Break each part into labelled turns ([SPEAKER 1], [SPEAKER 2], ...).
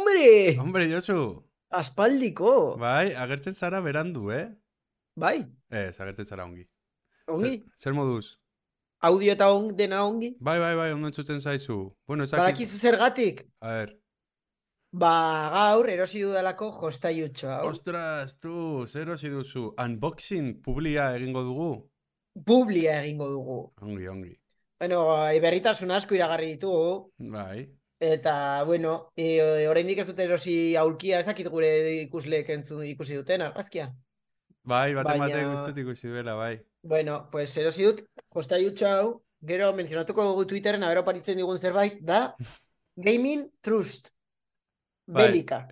[SPEAKER 1] Hombre!
[SPEAKER 2] Hombre, Josu,
[SPEAKER 1] Aspaldiko!
[SPEAKER 2] bai, agertzen zara berandu, eh?
[SPEAKER 1] Bai,
[SPEAKER 2] Ez, agertzen zara ongi.
[SPEAKER 1] ongi.
[SPEAKER 2] Zer, zer moduz?
[SPEAKER 1] Audio eta on, dena ongi.
[SPEAKER 2] Bai, bai, bai, ondo entzuten zaizu. Bueno, ez dakit...
[SPEAKER 1] Badakizu zergatik?
[SPEAKER 2] A ver,
[SPEAKER 1] Ba, gaur erosi dudalako jostaiutxo hau.
[SPEAKER 2] ostras, tu, zer hasi duzu? Unboxing publia egingo dugu?
[SPEAKER 1] Publia egingo dugu.
[SPEAKER 2] Ongi, ongi.
[SPEAKER 1] Bueno, e, berritasun asko iragarri ditugu.
[SPEAKER 2] Bai,
[SPEAKER 1] Eta, bueno, e, oraindik ez dute erosi aulkia, ez dakit gure ikusleek entzun ikusi duten, argazkia.
[SPEAKER 2] bai, baten
[SPEAKER 1] Baina-
[SPEAKER 2] batek ez dut ikusi dela, bai.
[SPEAKER 1] Bueno, pues erosi dut, jostaiutxo hau, gero menzionatuko dugu Twitteren, aber oparitzen digun zerbait, da Gaming Trust.
[SPEAKER 2] Bai.
[SPEAKER 1] Belika.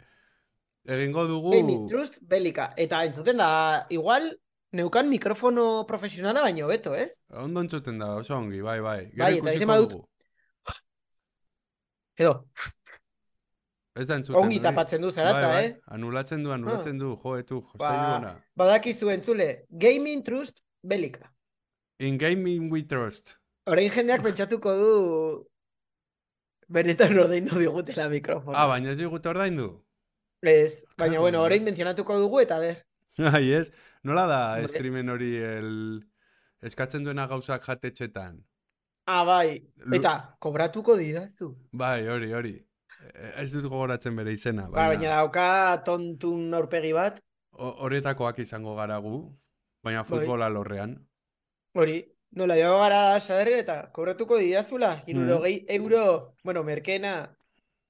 [SPEAKER 2] Egingo dugu...
[SPEAKER 1] Gaming Trust, belika. Eta entzuten da, igual, neukan mikrofono profesionala baino beto, ez?
[SPEAKER 2] Ondo entzuten da, oso ongi, bai, bai. Gero
[SPEAKER 1] Bai, eta egiten
[SPEAKER 2] ikusiko
[SPEAKER 1] badut-
[SPEAKER 2] dugu.
[SPEAKER 1] Edo,
[SPEAKER 2] Ez da entzuten.
[SPEAKER 1] ongi
[SPEAKER 2] hori.
[SPEAKER 1] tapatzen du zarata,
[SPEAKER 2] bai, bai.
[SPEAKER 1] eh? Ah.
[SPEAKER 2] Anulatzen du, anulatzen du, jo, etu,
[SPEAKER 1] Ba-
[SPEAKER 2] jostailu ona.
[SPEAKER 1] Badakizu entzule, Gaming Trust, belika.
[SPEAKER 2] In gaming we trust.
[SPEAKER 1] Orain jendeak pentsatuko du benetan ordaindu digutela mikrofono.
[SPEAKER 2] Ah, baina ez digute ordaindu.
[SPEAKER 1] Ez, baina
[SPEAKER 2] Claro,
[SPEAKER 1] bueno, orain
[SPEAKER 2] ez.
[SPEAKER 1] mentzionatuko dugu eta ber.
[SPEAKER 2] Ai, ez. Nola da
[SPEAKER 1] Hombre.
[SPEAKER 2] streamen hori el... eskatzen duena gauzak jatetxetan?
[SPEAKER 1] Ah, bai.
[SPEAKER 2] Lu-
[SPEAKER 1] Eta, kobratuko didazu.
[SPEAKER 2] Bai, hori, hori. E- Ez dut gogoratzen bere izena,
[SPEAKER 1] Ba,
[SPEAKER 2] baina
[SPEAKER 1] baina dauka tontun aurpegi bat,
[SPEAKER 2] ho- horretakoak izango gara gu, baina
[SPEAKER 1] Bai.
[SPEAKER 2] futbola lorrean.
[SPEAKER 1] Hori, nola joa gara sadarren eta kobratuko didazula, hirurogei
[SPEAKER 2] Mm.
[SPEAKER 1] euro, bueno, merkena,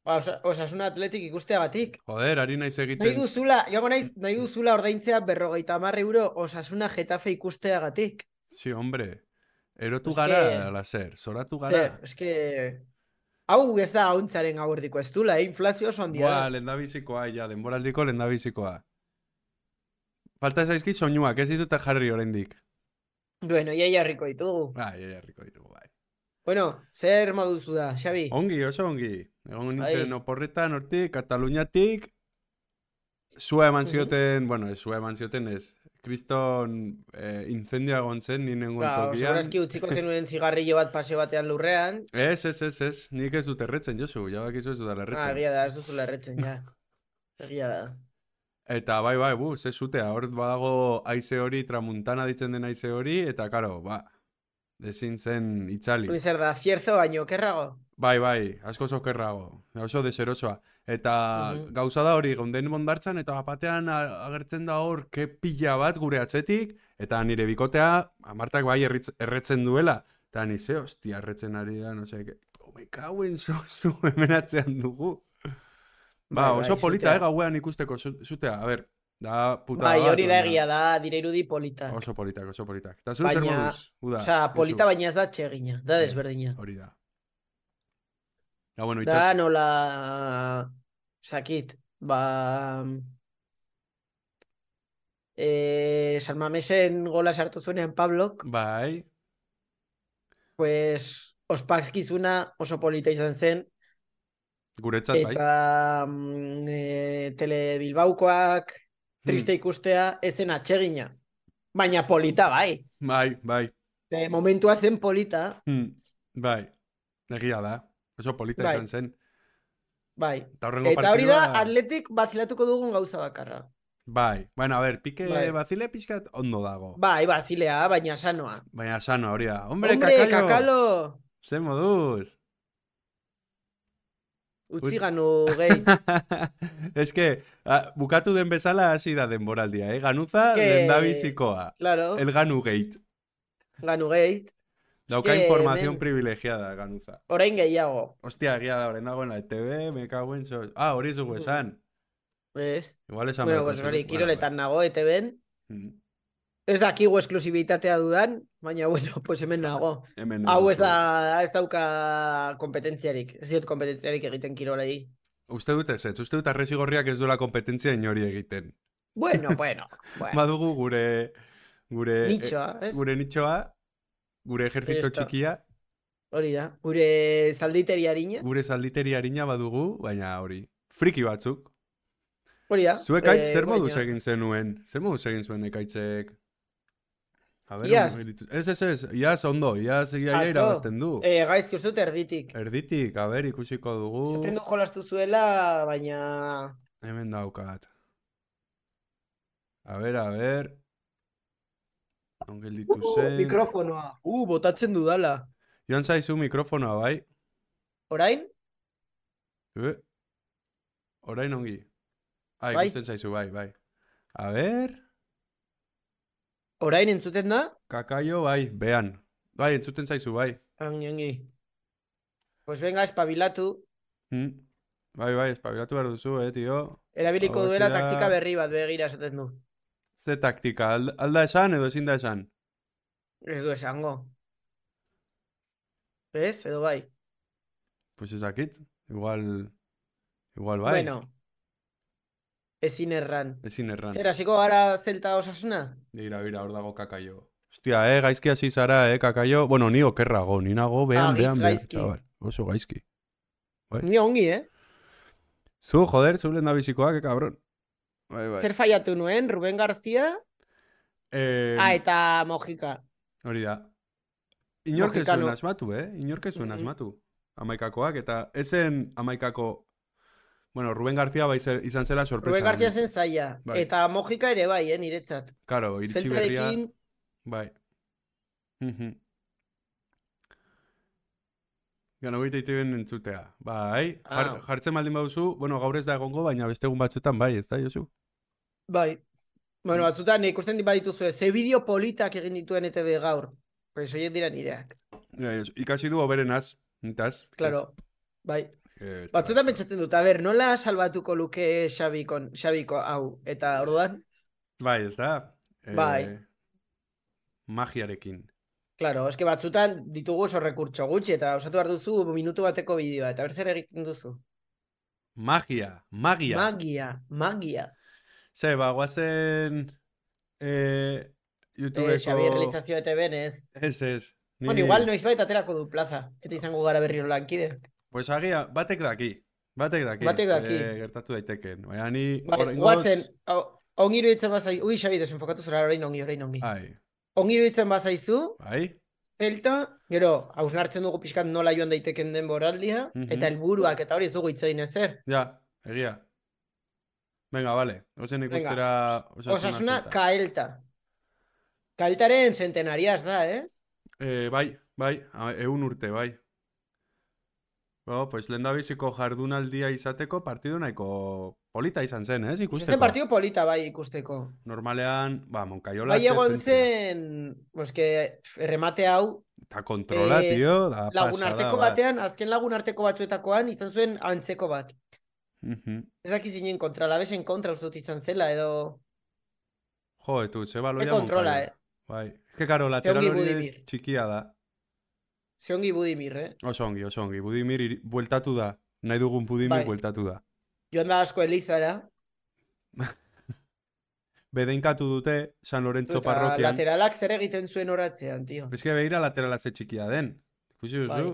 [SPEAKER 1] ba, osa, osasuna atletik ikusteagatik.
[SPEAKER 2] Joder, ari naiz
[SPEAKER 1] Nahi
[SPEAKER 2] egiten.
[SPEAKER 1] duzula, joango naiz, nahi duzula ordaintzea berrogeita hamar euro osasuna Getafe ikusteagatik.
[SPEAKER 2] Sí, hombre. Erotu
[SPEAKER 1] Eske-
[SPEAKER 2] gara, laser. Zoratu
[SPEAKER 1] Zer,
[SPEAKER 2] gara.
[SPEAKER 1] eske, hau ez da hauntzaren gaurdiko ez dula, eh? inflazio oso handia
[SPEAKER 2] Buah,
[SPEAKER 1] da.
[SPEAKER 2] lendabizikoa, ja, denboraldiko lendabizikoa. Falta zaizki soinuak, ez ditut jarri oraindik.
[SPEAKER 1] Bueno, ia jarriko ditugu.
[SPEAKER 2] Bai, ja, jarriko ditugu, bai.
[SPEAKER 1] Bueno, zer moduzu da, Xabi?
[SPEAKER 2] Ongi, oso ongi. Egon nintzen
[SPEAKER 1] Bai.
[SPEAKER 2] oporretan, hortik, Kataluniatik. Zua eman
[SPEAKER 1] Mhm.
[SPEAKER 2] zioten, bueno, ez zua eman zioten ez. Kriston eh, incendio egon zen, ni nengoen
[SPEAKER 1] Ba, segurazki
[SPEAKER 2] tokian.
[SPEAKER 1] utziko zenuen zigarrillo bat pase batean lurrean.
[SPEAKER 2] Ez, ez, ez, ez. Nik ez dut erretzen, Josu, ja bakizu ez dudala
[SPEAKER 1] Ah,
[SPEAKER 2] erretzen.
[SPEAKER 1] egia da, ez duzula erretzen, ja. Egia da.
[SPEAKER 2] Eta bai, bai, bu, ze zutea, hor badago aize hori, tramuntana ditzen den aize hori, eta karo, ba, ezin zen itzali.
[SPEAKER 1] Hori zer da, zierzo baino, kerrago?
[SPEAKER 2] Bai, bai, asko zokerrago, oso deserosoa. Eta
[SPEAKER 1] Mhm.
[SPEAKER 2] gauza da hori, gonden mondartzan, eta batean a- agertzen da hor, ke pila bat gure atzetik, eta nire bikotea, amartak bai erritz, erretzen duela. Eta ni ze, hostia, erretzen ari da, no "Oh, seke, ome kauen zozu, hemen atzean dugu. Ba,
[SPEAKER 1] Bai,
[SPEAKER 2] oso
[SPEAKER 1] bai,
[SPEAKER 2] polita,
[SPEAKER 1] zutea.
[SPEAKER 2] eh, gauean ikusteko zu- zutea, a ber, da puta
[SPEAKER 1] Bai,
[SPEAKER 2] bat,
[SPEAKER 1] hori da
[SPEAKER 2] baina
[SPEAKER 1] egia da, dire irudi polita.
[SPEAKER 2] Oso politak, oso politak. Eta zu
[SPEAKER 1] Baina,
[SPEAKER 2] zer moduz, uda,
[SPEAKER 1] Osea,
[SPEAKER 2] Josu?
[SPEAKER 1] polita baina ez da txegina, da
[SPEAKER 2] Ez,
[SPEAKER 1] desberdina.
[SPEAKER 2] Hori da. Da, bueno,
[SPEAKER 1] Da
[SPEAKER 2] itxas,
[SPEAKER 1] nola... Zakit, ba... Eh, San Mamesen gola sartu zuenean Pablok,
[SPEAKER 2] bai,
[SPEAKER 1] pues ospakizuna oso polita izan zen,
[SPEAKER 2] guretzat bai.
[SPEAKER 1] eta mm, eh, Tele Bilbaukoak
[SPEAKER 2] Hmm.
[SPEAKER 1] triste ikustea, ez zen atsegina. Baina polita bai.
[SPEAKER 2] Bai, bai.
[SPEAKER 1] De momentua zen polita,
[SPEAKER 2] Hmm. Bai. Egia da. Oso polita
[SPEAKER 1] Bai.
[SPEAKER 2] izan zen.
[SPEAKER 1] bai.
[SPEAKER 2] Eta horrengo
[SPEAKER 1] Eta hori da,
[SPEAKER 2] partidua-
[SPEAKER 1] atletik bazilatuko dugun gauza bakarra.
[SPEAKER 2] Bai. Bueno, a ver, pike
[SPEAKER 1] Bai.
[SPEAKER 2] bazile pixkat ondo dago.
[SPEAKER 1] Bai, bazilea, baina sanoa.
[SPEAKER 2] Baina sano, hori da. Hombre,
[SPEAKER 1] Hombre,
[SPEAKER 2] kakalo.
[SPEAKER 1] kakalo,
[SPEAKER 2] Zer moduz.
[SPEAKER 1] utzi
[SPEAKER 2] Ut-
[SPEAKER 1] ganu gehi.
[SPEAKER 2] es que, ah, bukatu den bezala hasi da denboraldia, eh? Ganuza
[SPEAKER 1] Es que-
[SPEAKER 2] lehendabizikoa.
[SPEAKER 1] Claro,
[SPEAKER 2] El Ganu Gate.
[SPEAKER 1] ganu gehi.
[SPEAKER 2] Dauka
[SPEAKER 1] que,
[SPEAKER 2] información
[SPEAKER 1] men-
[SPEAKER 2] privilegiada, Ganuza.
[SPEAKER 1] Orain gehiago,
[SPEAKER 2] Hostia, egia da, orain dagoen la ETV, me cago en sos. Ah, hori zugu
[SPEAKER 1] Mm.
[SPEAKER 2] esan.
[SPEAKER 1] ez?
[SPEAKER 2] Igual esan
[SPEAKER 1] Bueno,
[SPEAKER 2] beharko
[SPEAKER 1] pues
[SPEAKER 2] zenu.
[SPEAKER 1] hori,
[SPEAKER 2] Bueno,
[SPEAKER 1] kiroletan nago, ete ben.
[SPEAKER 2] bai. Mm.
[SPEAKER 1] Ez dakigu esklusibitatea dudan, baina bueno, pues hemen nago.
[SPEAKER 2] Hemen
[SPEAKER 1] Hau
[SPEAKER 2] nago
[SPEAKER 1] ez
[SPEAKER 2] zu.
[SPEAKER 1] da, ez dauka kompetentziarik. Ez diot kompetentziarik egiten kirolei.
[SPEAKER 2] Uste dut ez, ez uste dut arresi gorriak ez duela kompetentzia inori egiten.
[SPEAKER 1] Bueno, bueno, bueno.
[SPEAKER 2] Badugu gure... gure
[SPEAKER 1] Nitxoa,
[SPEAKER 2] eh,
[SPEAKER 1] Bai. ez?
[SPEAKER 2] gure nitxoa, gure ejertzito
[SPEAKER 1] Esto.
[SPEAKER 2] txikia,
[SPEAKER 1] Hori da. Gure zalditeri harina.
[SPEAKER 2] gure zalditeri harina badugu, baina hori, friki batzuk.
[SPEAKER 1] Hori da.
[SPEAKER 2] Zuek aitz
[SPEAKER 1] eh,
[SPEAKER 2] zer moduz
[SPEAKER 1] baina-
[SPEAKER 2] egin zenuen? Zer moduz egin zuen ekaitzek? Aber,
[SPEAKER 1] Iaz.
[SPEAKER 2] gelditu- Ez, ez, ez, iaz ondo, iaz egia
[SPEAKER 1] Atzo.
[SPEAKER 2] irabazten du.
[SPEAKER 1] E, gaizki uste dut erditik.
[SPEAKER 2] Erditik, aber, ikusiko dugu.
[SPEAKER 1] Zaten du jolastu zuela, baina...
[SPEAKER 2] Hemen daukat. A ber, a ber. Non gelditu zen.
[SPEAKER 1] mikrofonoa. Uh, botatzen dudala.
[SPEAKER 2] Joan zaizu mikrofonoa, bai?
[SPEAKER 1] Orain?
[SPEAKER 2] E? Orain ongi. Ah,
[SPEAKER 1] Bai.
[SPEAKER 2] ikusten zaizu, bai, bai. A ber,
[SPEAKER 1] Orain entzuten da?
[SPEAKER 2] kakaio, bai, bean. Bai, entzuten zaizu, bai.
[SPEAKER 1] Ongi, ongi. Pues venga, espabilatu.
[SPEAKER 2] Hm? Bai, bai, espabilatu behar duzu, eh, tio.
[SPEAKER 1] Erabiliko
[SPEAKER 2] Hau
[SPEAKER 1] duela
[SPEAKER 2] da-
[SPEAKER 1] taktika berri bat begira esaten du.
[SPEAKER 2] Ze taktika, alda, alda esan edo ezin da esan.
[SPEAKER 1] Ez du esango. Ez, edo bai.
[SPEAKER 2] Pues ezakit, igual, igual bai,
[SPEAKER 1] Bueno. Ezin erran.
[SPEAKER 2] ezin erran.
[SPEAKER 1] Zer, hasiko gara zelta osasuna?
[SPEAKER 2] Begira, begira, hor dago kakaio. Hostia, eh, gaizki hasi zara, eh, kakaio. Bueno, ni okerrago, ni nago, bean,
[SPEAKER 1] Ah,
[SPEAKER 2] bean,
[SPEAKER 1] gaitz
[SPEAKER 2] bean,
[SPEAKER 1] gaizki.
[SPEAKER 2] chaval. Oso gaizki. Bai.
[SPEAKER 1] Ni ongi, eh?
[SPEAKER 2] Zu, joder, zu lehen da bizikoak, eh, cabron. Bai, bai.
[SPEAKER 1] Zer faiatu nuen, Rubén García,
[SPEAKER 2] Eh,
[SPEAKER 1] ah, eta Mojika.
[SPEAKER 2] Hori da. Inork ez
[SPEAKER 1] Mexicano.
[SPEAKER 2] zuen asmatu, eh? Inork ez zuen
[SPEAKER 1] Mhm.
[SPEAKER 2] asmatu. Amaikakoak, eta ezen amaikako... Bueno, Rubén García bai zer- izan zela sorpresa.
[SPEAKER 1] Rubén García zen zaila.
[SPEAKER 2] Bai.
[SPEAKER 1] Eta Mojika ere bai, eh, niretzat.
[SPEAKER 2] Karo, iritsi berria...
[SPEAKER 1] Zeltarekin,
[SPEAKER 2] Bai. Mhm. Gano gaita itiben entzutea. Bai, jar,
[SPEAKER 1] Ah.
[SPEAKER 2] jartzen baldin baduzu, bueno, gaur ez da egongo, baina beste egun batzuetan bai, ez da, Josu?
[SPEAKER 1] bai. Bueno, batzutan eh, ikusten dit badituzue, ze bideo politak egin dituen ETV gaur. Pues horiek dira nireak.
[SPEAKER 2] Ja, Josu. Ikasi du oberenaz, nitaz.
[SPEAKER 1] Claro. Bai.
[SPEAKER 2] Ez- ez-
[SPEAKER 1] Batzutan pentsatzen dut, a ber, nola salbatuko luke Xabikon, Xabiko hau? Eta orduan,
[SPEAKER 2] Bai, ez da? Eh,
[SPEAKER 1] Bai.
[SPEAKER 2] Magiarekin.
[SPEAKER 1] Claro, eske batzutan ditugu oso rekurtso gutxi eta osatu behar duzu minutu bateko bideoa eta ber zer egiten duzu.
[SPEAKER 2] Magia, magia.
[SPEAKER 1] Magia, magia.
[SPEAKER 2] Ze, ba, guazen... Eh,
[SPEAKER 1] Eh, Xabi
[SPEAKER 2] YouTubeko...
[SPEAKER 1] realizazioa eta benez.
[SPEAKER 2] Ez, ez. Ni-
[SPEAKER 1] Bueno, igual noizbait aterako du plaza. Eta izango gara berriro lankide.
[SPEAKER 2] Pues agia, batek daki. Batek daki.
[SPEAKER 1] Batek
[SPEAKER 2] ze
[SPEAKER 1] daki.
[SPEAKER 2] gertatu daiteken. Baina ni...
[SPEAKER 1] Bai,
[SPEAKER 2] oraingoz-
[SPEAKER 1] guazen, hau- ongi iruditzen bazai, ui Xabi, desenfokatu zara orain ongi, orain ongi.
[SPEAKER 2] Ai,
[SPEAKER 1] Ongi iruditzen bazaizu,
[SPEAKER 2] bai?
[SPEAKER 1] zelta, gero, hausnartzen dugu pixkat nola joan daiteken denboraldia,
[SPEAKER 2] Mhm.
[SPEAKER 1] eta helburuak eta hori ez dugu hitz egin ezer.
[SPEAKER 2] Ja, egia. Venga, vale. Ozen
[SPEAKER 1] Venga.
[SPEAKER 2] ikustera... Osasuna
[SPEAKER 1] Osasuna,
[SPEAKER 2] zeta.
[SPEAKER 1] kaelta. Kaeltaren centenariaz da, ez?
[SPEAKER 2] Eh, bai, bai, a- ehun urte, bai. Bueno, pues lehendabiziko jardunaldia izateko partidu nahiko polita izan zen, ez?
[SPEAKER 1] Ikusten
[SPEAKER 2] Ikusteko.
[SPEAKER 1] partido polita bai ikusteko.
[SPEAKER 2] Normalean, ba, Moncayola...
[SPEAKER 1] Bai
[SPEAKER 2] ze
[SPEAKER 1] egon
[SPEAKER 2] zentzua.
[SPEAKER 1] zen, pues que remate hau
[SPEAKER 2] Eta kontrola,
[SPEAKER 1] eh,
[SPEAKER 2] tio, da
[SPEAKER 1] lagunarteko
[SPEAKER 2] pasada, ba.
[SPEAKER 1] batean, azken lagunarteko batzuetakoan izan zuen antzeko bat.
[SPEAKER 2] bat. Mhm.
[SPEAKER 1] Ez daki zinen kontra, labesen kontra uste dut izan zela edo...
[SPEAKER 2] Jo, etu, ze baloia
[SPEAKER 1] Ze kontrola,
[SPEAKER 2] Moncayola.
[SPEAKER 1] eh.
[SPEAKER 2] Bai. Ez que, karo, lateral
[SPEAKER 1] ongi
[SPEAKER 2] hori
[SPEAKER 1] Budimir.
[SPEAKER 2] txikia da.
[SPEAKER 1] Zeongi Budimir, eh?
[SPEAKER 2] Oso ongi, oso ongi. Budimir iri- bueltatu da. Nahi dugun Budimir
[SPEAKER 1] Bai.
[SPEAKER 2] bueltatu da.
[SPEAKER 1] Joan da asko Elizara,
[SPEAKER 2] Bedeinkatu dute San Lorenzo
[SPEAKER 1] eta
[SPEAKER 2] parrokian.
[SPEAKER 1] lateralak zer egiten zuen horatzean, tio.
[SPEAKER 2] Ez que behira laterala ze txikia den. Ikusi duzu?
[SPEAKER 1] Bai.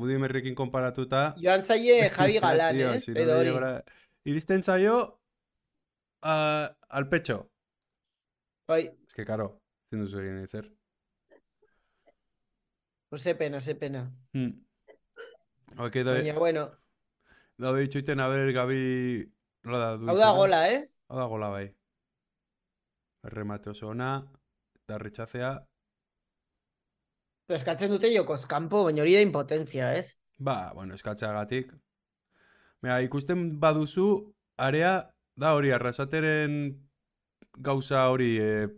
[SPEAKER 2] Budimerrekin konparatuta...
[SPEAKER 1] Joan zaie Javi Galán, ¿eh?
[SPEAKER 2] Tio,
[SPEAKER 1] ez?
[SPEAKER 2] si no
[SPEAKER 1] Edo
[SPEAKER 2] le
[SPEAKER 1] hori.
[SPEAKER 2] llegara- Iristen zaio... a- al pecho.
[SPEAKER 1] Bai,
[SPEAKER 2] Ez que, karo, ezin duzu egin ezer.
[SPEAKER 1] pues ze pena, ze pena.
[SPEAKER 2] Hmm. Ok,
[SPEAKER 1] Baina,
[SPEAKER 2] daude,
[SPEAKER 1] bueno,
[SPEAKER 2] daude itxuiten aber Gabi... Nola da, du
[SPEAKER 1] hau da
[SPEAKER 2] izena?
[SPEAKER 1] gola, ez?
[SPEAKER 2] Hau da gola, bai. Remate oso ona, eta retxazea...
[SPEAKER 1] Eskatzen dute jokoz kanpo, baina hori da impotentzia, ez?
[SPEAKER 2] Ba, bueno, eskatzeagatik. Mira, ikusten baduzu, area da hori, arrasateren gauza hori, eh,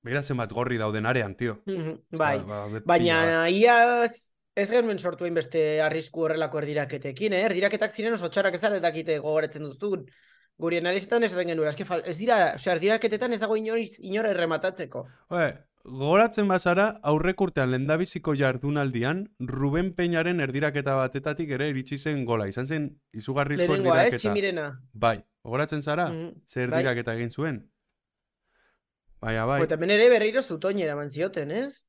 [SPEAKER 2] begira zenbat gorri dauden arean, tio.
[SPEAKER 1] Mhm, Bai.
[SPEAKER 2] Ba- ba- pila bat.
[SPEAKER 1] Baina iaz ez genuen sortu hainbeste arrisku horrelako erdiraketekin, eh? Erdiraketak ziren oso txarrak ezan dakite eh, gogoratzen duzun. Guri analizetan esaten genuen, eske fal- ez dira, osea, erdiraketetan ez dago inoriz, inora errematatzeko.
[SPEAKER 2] Oe, gogoratzen bazara, aurrek urtean lendabiziko jardunaldian, Ruben Peñaren erdiraketa batetatik ere iritsi zen gola. Izan zen, izugarrizko
[SPEAKER 1] Lehenengoa, ez,
[SPEAKER 2] erdiraketa.
[SPEAKER 1] tximirena.
[SPEAKER 2] Bai, gogoratzen zara,
[SPEAKER 1] Mhm.
[SPEAKER 2] zer
[SPEAKER 1] bai.
[SPEAKER 2] erdiraketa egin zuen. Baina, bai,
[SPEAKER 1] Eta hemen ere berriro zutoinera eraman zioten, ez?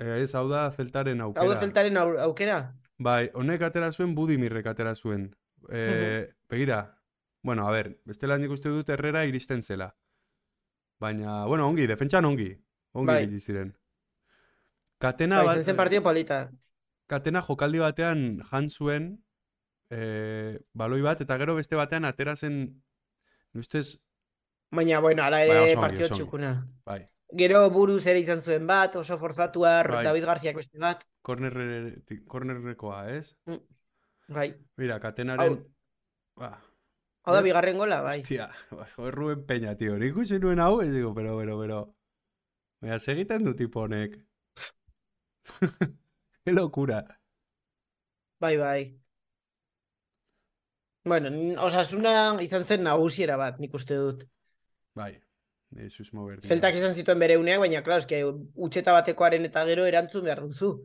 [SPEAKER 2] eh, ez hau da zeltaren
[SPEAKER 1] Hau da
[SPEAKER 2] aukera.
[SPEAKER 1] zeltaren au- aukera.
[SPEAKER 2] Bai, honek atera zuen, Budimirrek atera zuen. Eh,
[SPEAKER 1] Mhm.
[SPEAKER 2] begira, bueno, a ber, bestela nik uste dut Herrera iristen zela. Baina, bueno, ongi, defentsan ongi. Ongi
[SPEAKER 1] Bai.
[SPEAKER 2] ibili ziren. Katena,
[SPEAKER 1] Bai,
[SPEAKER 2] bat-
[SPEAKER 1] izan zen partido polita.
[SPEAKER 2] katena jokaldi batean jan zuen eh, baloi bat, eta gero beste batean atera zen, nire ustez,
[SPEAKER 1] Baina, bueno, ala
[SPEAKER 2] Baina
[SPEAKER 1] ere
[SPEAKER 2] Bai, oso ongi,
[SPEAKER 1] partido
[SPEAKER 2] oso ongi.
[SPEAKER 1] txukuna.
[SPEAKER 2] bai,
[SPEAKER 1] Gero buruz ere izan zuen bat, oso forzatua,
[SPEAKER 2] Bai.
[SPEAKER 1] David Garziak beste bat.
[SPEAKER 2] kornerretik- kornerrekoa, ez?
[SPEAKER 1] Bai.
[SPEAKER 2] Mira, katenaren... Ba,
[SPEAKER 1] Hau da,
[SPEAKER 2] Eh?
[SPEAKER 1] bigarren gola, bai.
[SPEAKER 2] Hostia, ba, jo, Ruben Peña, tío. Nik uste nuen hau, ez digo, pero, pero, pero... Baina, segiten du tipo honek. Qué locura.
[SPEAKER 1] Bai, bai. Bueno, n- osasuna izan zen nagusiera bat, nik uste dut.
[SPEAKER 2] Bai, nire susmo berdina.
[SPEAKER 1] Zeltak izan zituen bere uneak, baina, claro, eske, utxeta batekoaren eta gero erantzun behar duzu.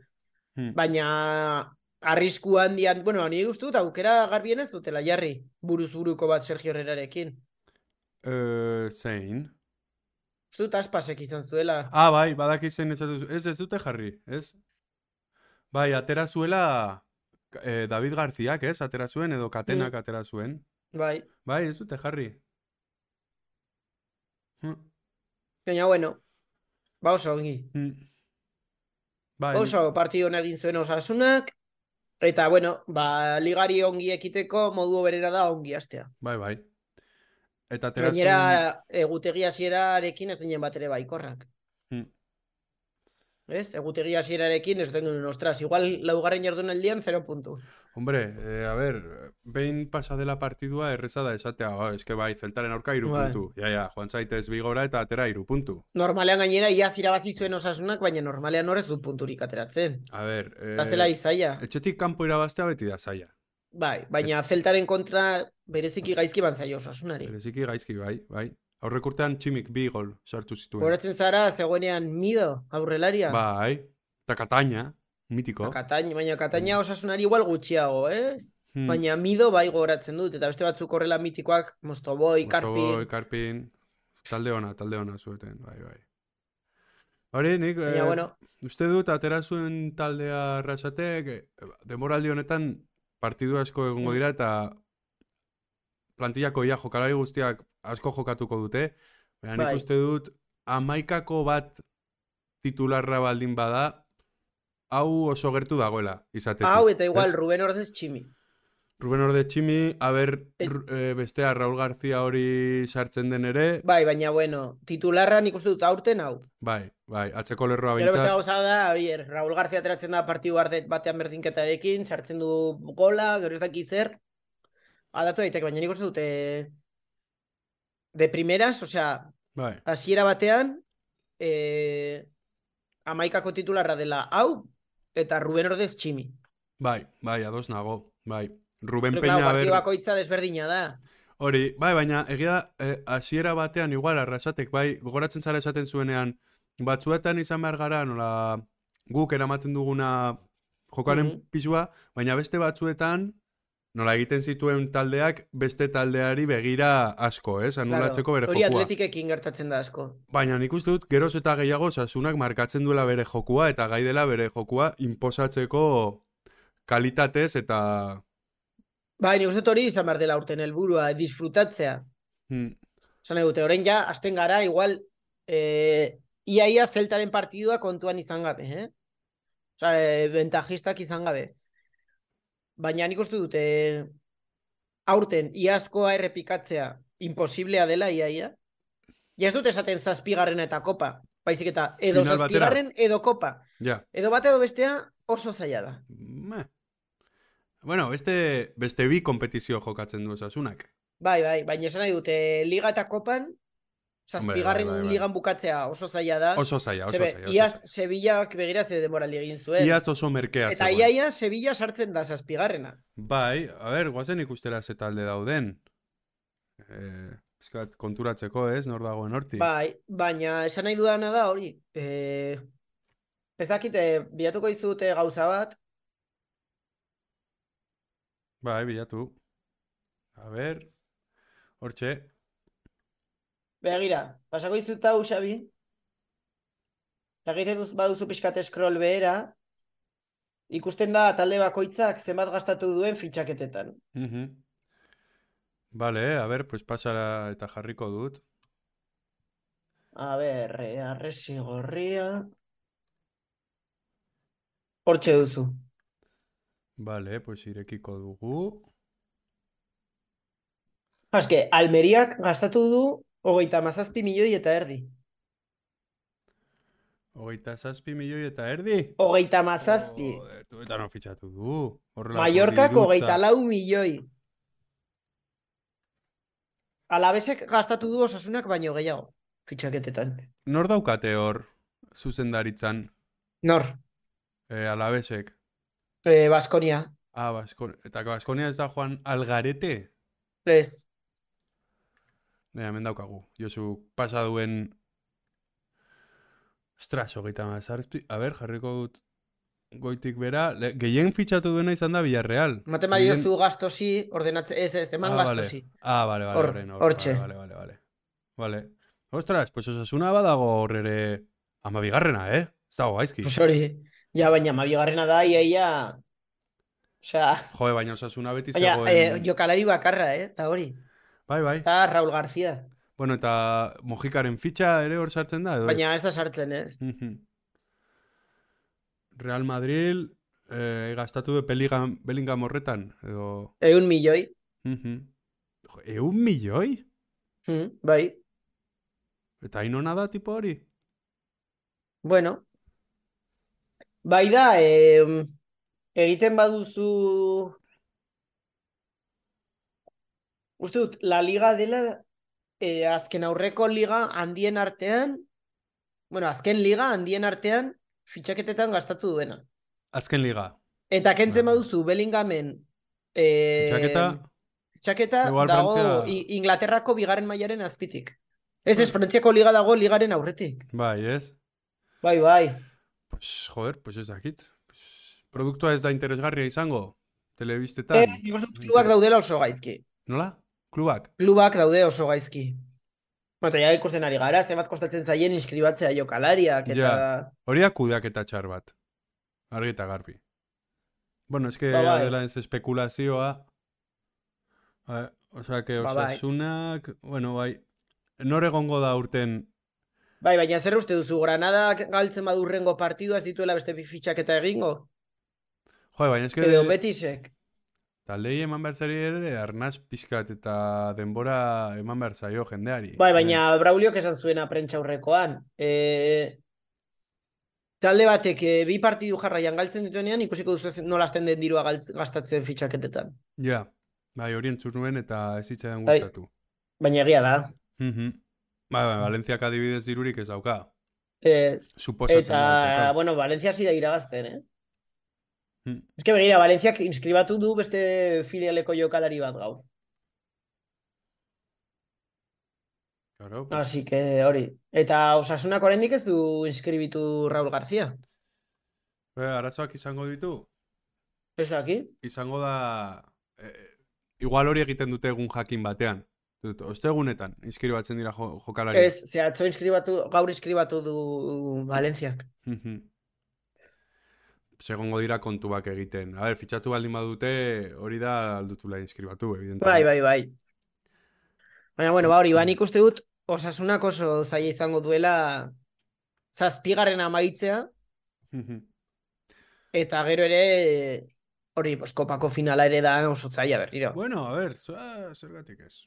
[SPEAKER 2] Hmm.
[SPEAKER 1] Baina, arrisku handian, bueno, nire uste dut, aukera garbien ez dutela jarri, buruz buruko bat Sergio Herrerarekin.
[SPEAKER 2] Eh, zein?
[SPEAKER 1] Uste dut, aspasek izan zuela.
[SPEAKER 2] Ah, bai, badaki zein ez ez ez dute jarri, ez? Bai, atera zuela eh, David Garziak, ez? Atera zuen edo katenak
[SPEAKER 1] Hmm.
[SPEAKER 2] atera zuen.
[SPEAKER 1] Bai.
[SPEAKER 2] Bai, ez dute jarri. Hm,
[SPEAKER 1] Baina, bueno, ba oso ongi. Ba
[SPEAKER 2] hm. Bai, nik-
[SPEAKER 1] Oso partidu hona egin zuen osasunak, eta, bueno, ba, ligari ongi ekiteko modu berera da ongi astea.
[SPEAKER 2] Bai, bai. Eta atera zuen...
[SPEAKER 1] Gainera, egutegi hasierarekin ez ginen bat ere baikorrak.
[SPEAKER 2] Mm.
[SPEAKER 1] Ez? Egutegi hasierarekin ez den genuen, ostras, igual laugarren jardunaldian 0 puntu.
[SPEAKER 2] Hombre, eh, a ber, behin pasa dela partidua erreza da esatea, oh, eske bai, zeltaren aurka hiru
[SPEAKER 1] Bai.
[SPEAKER 2] puntu. Ja, ja, joan zaitez bigora eta atera hiru puntu.
[SPEAKER 1] Normalean gainera iaz irabazi zuen osasunak, baina normalean horrez du punturik ateratzen.
[SPEAKER 2] A ber, eh,
[SPEAKER 1] Bazela izaia.
[SPEAKER 2] etxetik kanpo irabaztea beti da zaila.
[SPEAKER 1] Bai, baina zeltaren kontra bereziki gaizki ban zaio osasunari.
[SPEAKER 2] Bereziki gaizki, bai, bai. Aurrek urtean tximik bi gol sartu zituen.
[SPEAKER 1] Horatzen zara, zegoenean mido, aurrelaria.
[SPEAKER 2] Bai, eta Kataina, mitiko.
[SPEAKER 1] Kataina, baina
[SPEAKER 2] Mm.
[SPEAKER 1] Kataina osasunari igual gutxiago, ez?
[SPEAKER 2] Hmm.
[SPEAKER 1] Baina mido bai gogoratzen dut, eta beste batzuk horrela mitikoak, Mostoboi,
[SPEAKER 2] Mostoboi,
[SPEAKER 1] Karpin,
[SPEAKER 2] Karpin, talde ona, talde ona zueten, bai, bai. Hori, nik,
[SPEAKER 1] baina
[SPEAKER 2] eh,
[SPEAKER 1] bueno,
[SPEAKER 2] uste dut, atera zuen taldea rasatek, demoraldi honetan partidu asko egongo
[SPEAKER 1] Mm.
[SPEAKER 2] dira, eta plantillako ia jokalari guztiak asko jokatuko dute, baina nik
[SPEAKER 1] Bai.
[SPEAKER 2] uste dut, amaikako bat titularra baldin bada, hau oso gertu dagoela, izatetik.
[SPEAKER 1] hau eta igual
[SPEAKER 2] Ez?
[SPEAKER 1] Ruben Ordez tximi.
[SPEAKER 2] Ruben Orde Tximi, aber
[SPEAKER 1] Et-
[SPEAKER 2] ru- eh, bestea Raúl García hori sartzen den ere,
[SPEAKER 1] Bai, baina bueno, titularra nik uste dut aurten hau.
[SPEAKER 2] bai, bai, atzeko lerroa
[SPEAKER 1] Gero beste
[SPEAKER 2] bintzat,
[SPEAKER 1] gauza da, hori, er, Raul García ateratzen da partidu arde- batean berdinketarekin, sartzen du gola, gero ez daki zer. Aldatu daiteke, baina nik uste dut eh, de primeras, osea,
[SPEAKER 2] bai,
[SPEAKER 1] hasiera batean eh, amaikako titularra dela hau eta Ruben Ordez tximi.
[SPEAKER 2] bai, bai, ados nago, bai. Ruben
[SPEAKER 1] Pero,
[SPEAKER 2] Peña,
[SPEAKER 1] claro,
[SPEAKER 2] aber,
[SPEAKER 1] partidu bakoitza desberdina da.
[SPEAKER 2] Hori, bai, baina egia da, eh, hasiera batean igual arrasatek, bai, gogoratzen zara esaten zuenean, batzuetan izan behar gara, nola, guk eramaten duguna jokaren
[SPEAKER 1] Mhm.
[SPEAKER 2] pisua, baina beste batzuetan, nola egiten zituen taldeak, beste taldeari begira asko, ez? Anulatzeko
[SPEAKER 1] Claro,
[SPEAKER 2] bere
[SPEAKER 1] hori
[SPEAKER 2] jokua.
[SPEAKER 1] atleticekin gertatzen da asko.
[SPEAKER 2] Baina nik uste dut, geroz eta gehiago sasunak markatzen duela bere jokua, eta gai dela bere jokua inposatzeko kalitatez eta...
[SPEAKER 1] Bai, nik uste dut hori izan behar dela urten helburua, disfrutatzea.
[SPEAKER 2] Hmm,
[SPEAKER 1] Zan dute, orain ja, azten gara, igual, eh, ia ia zeltaren partidua kontuan izan gabe, eh? Osa, eh, ventajistak izan gabe. Baina nik uste dute, aurten, iazkoa errepikatzea, imposiblea dela, ia ia. Ja ez dut esaten zazpigarren eta kopa, baizik eta edo
[SPEAKER 2] Final batera.
[SPEAKER 1] zazpigarren edo kopa.
[SPEAKER 2] ja,
[SPEAKER 1] Edo bat edo bestea oso zaila da.
[SPEAKER 2] meh. Bueno, beste, beste bi kompetizio jokatzen du osasunak.
[SPEAKER 1] Bai, bai, baina esan nahi dute liga eta kopan, zazpigarren
[SPEAKER 2] bai, bai.
[SPEAKER 1] ligan bukatzea oso zaila da.
[SPEAKER 2] Oso zaila, oso
[SPEAKER 1] Zebe,
[SPEAKER 2] zaila. Oso
[SPEAKER 1] iaz,
[SPEAKER 2] zaila.
[SPEAKER 1] Sevillak begira ze demoraldi egin zuen.
[SPEAKER 2] Iaz oso merkea
[SPEAKER 1] Eta
[SPEAKER 2] zegoen.
[SPEAKER 1] iaia ia Sevilla sartzen da zazpigarrena.
[SPEAKER 2] Bai, a ber, guazen ikustera ze talde dauden. Eh, pixkat konturatzeko, ez? Nor dagoen horti.
[SPEAKER 1] Bai, baina esan nahi dudana da hori. Eh, ez dakite, bilatuko izute gauza bat,
[SPEAKER 2] Bai, bilatu. A ber, hortxe.
[SPEAKER 1] begira, pasako izut hau, Xabi. Eta egiten duz, baduzu pixkat scroll behera, ikusten da talde bakoitzak zenbat gastatu duen fitxaketetan.
[SPEAKER 2] Mhm. Vale, a ber, pues pasara eta jarriko dut.
[SPEAKER 1] A ber, eh, arresi gorria. Hortxe duzu.
[SPEAKER 2] Bale, pues irekiko dugu.
[SPEAKER 1] Aske, Almeriak gastatu du hogeita hamazazpi milioi eta erdi.
[SPEAKER 2] Hogeita zazpi milioi eta erdi.
[SPEAKER 1] Hogeita hamazazpi.
[SPEAKER 2] Joder, tuetan hau fitxatu du. Horrelako
[SPEAKER 1] Mallorkak
[SPEAKER 2] dirutza.
[SPEAKER 1] hogeita lau milioi. Alabesek gastatu du osasunak baino gehiago. Fitxaketetan.
[SPEAKER 2] Nor daukate hor, zuzendaritzan,
[SPEAKER 1] Nor,
[SPEAKER 2] e, alabesek.
[SPEAKER 1] eh, Baskonia.
[SPEAKER 2] Ah, Baskon... Eta Baskonia ez da joan algarete?
[SPEAKER 1] Ez.
[SPEAKER 2] Ne, hemen daukagu. Josu pasa duen... Ostras, hogeita mazazpi... A ber, jarriko dut goitik bera. Le, gehien fitxatu duena izan da Villarreal.
[SPEAKER 1] Ematen badiozu gastosi, ordenatze, ez, ez, eman
[SPEAKER 2] ah, vale.
[SPEAKER 1] gastosi.
[SPEAKER 2] Ah, vale, vale,
[SPEAKER 1] Hor-
[SPEAKER 2] horren, hor,
[SPEAKER 1] hortxe.
[SPEAKER 2] Vale, vale, vale, vale. Vale. Ostras, pues osasuna badago hor ere... Ama bigarrena, eh? Ez dago gaizki.
[SPEAKER 1] Pues hori, ja, baina mabigarrena da, ia, ia... Osea,
[SPEAKER 2] Jode, baina osasuna beti
[SPEAKER 1] baina,
[SPEAKER 2] zegoen...
[SPEAKER 1] eh, jokalari bakarra, eh, eta hori.
[SPEAKER 2] Bai, bai.
[SPEAKER 1] Eta Raul García.
[SPEAKER 2] Bueno, eta Mojikaren fitxa ere hor sartzen da, edo ez?
[SPEAKER 1] Baina ez da sartzen, ez.
[SPEAKER 2] Mhm. Real Madrid eh, gastatu du Bellingham, Bellingham horretan, edo...
[SPEAKER 1] Egun milioi.
[SPEAKER 2] Mhm. Jo, Ehun milioi?
[SPEAKER 1] Mm, bai,
[SPEAKER 2] Eta hain ona da tipo hori?
[SPEAKER 1] bueno. Bai da, eh, egiten baduzu... Uste dut, La Liga dela eh, azken aurreko liga handien artean, bueno, azken liga handien artean fitxaketetan gastatu duena.
[SPEAKER 2] Azken liga.
[SPEAKER 1] Eta kentzen
[SPEAKER 2] Bai.
[SPEAKER 1] baduzu Bellinghamen eh,
[SPEAKER 2] Txaketa,
[SPEAKER 1] Txaketa
[SPEAKER 2] Igual
[SPEAKER 1] dago
[SPEAKER 2] Frantzia-
[SPEAKER 1] I- Inglaterrako bigarren mailaren azpitik. Ez ez,
[SPEAKER 2] Mm.
[SPEAKER 1] Frantziako liga dago ligaren aurretik.
[SPEAKER 2] bai, ez?
[SPEAKER 1] Bai, bai.
[SPEAKER 2] Pues, joder, pues ez dakit. Pues, produktua ez da interesgarria izango, telebistetan.
[SPEAKER 1] Ez, nik uste dut klubak daudela oso gaizki.
[SPEAKER 2] Nola? Klubak?
[SPEAKER 1] Klubak daude oso gaizki. Bueno, ja ikusten ari gara, zenbat kostatzen zaien inskribatzea jokalariak, eta...
[SPEAKER 2] Hori da kudeaketa txar bat. Argi eta garbi. Bueno, es que
[SPEAKER 1] Ba, bai.
[SPEAKER 2] dela ez espekulazioa. Eh, Osea, que
[SPEAKER 1] Ba, bai.
[SPEAKER 2] osasunak... Bueno, bai. Nor egongo da urten...
[SPEAKER 1] Bai, baina zer uste duzu, Granadak galtzen badurrengo partidua ez dituela beste bi fitxaketa egingo?
[SPEAKER 2] Jo, baina eske
[SPEAKER 1] Edo Betisek?
[SPEAKER 2] taldei eman behar zari ere arnaz pixkat eta denbora eman behar zaio jendeari.
[SPEAKER 1] Bai, baina Brauliok esan zuena prentsa aurrekoan. E... Talde batek eh, bi partidu jarraian galtzen dituenean ikusiko duzu ez- nola hasten den dirua galtz- gastatzen fitxaketetan.
[SPEAKER 2] Ja, bai, hori entzun nuen eta ez zitzaidan
[SPEAKER 1] Bai.
[SPEAKER 2] gustatu.
[SPEAKER 1] Baina egia da.
[SPEAKER 2] Mhm. Bai, bai, Valentziak adibidez dirurik ez dauka.
[SPEAKER 1] Ez.
[SPEAKER 2] Suposatzen da ez
[SPEAKER 1] Eta,
[SPEAKER 2] dauka.
[SPEAKER 1] bueno, Valencia hasi da irabazten, eh?
[SPEAKER 2] Hmm.
[SPEAKER 1] Es que begira, Valenciak inskribatu du beste filialeko jokalari bat gau.
[SPEAKER 2] Claro, pues,
[SPEAKER 1] Así que hori. Eta Osasunak oraindik ez du inskribitu Raúl García.
[SPEAKER 2] eh, arazoak izango ditu.
[SPEAKER 1] Ez daki?
[SPEAKER 2] izango da eh, igual hori egiten dute egun jakin batean. Dut, ostegunetan inskribatzen dira jo, jokalari.
[SPEAKER 1] Ez, ze atzo inskribatu, gaur inskribatu du Valenciak.
[SPEAKER 2] Mhm. Segongo dira kontuak egiten. A ber, fitxatu baldin badute, hori da aldutula inskribatu, evidentemente.
[SPEAKER 1] Bai, bai, bai. Baina, bueno, ba, hori, ba, nik uste dut, osasunak oso zaila izango duela zazpigarren amaitzea,
[SPEAKER 2] Mhm.
[SPEAKER 1] eta gero ere, hori, pues, kopako finala ere da oso zaila berriro.
[SPEAKER 2] Bueno, a ber, zua, zergatik ez.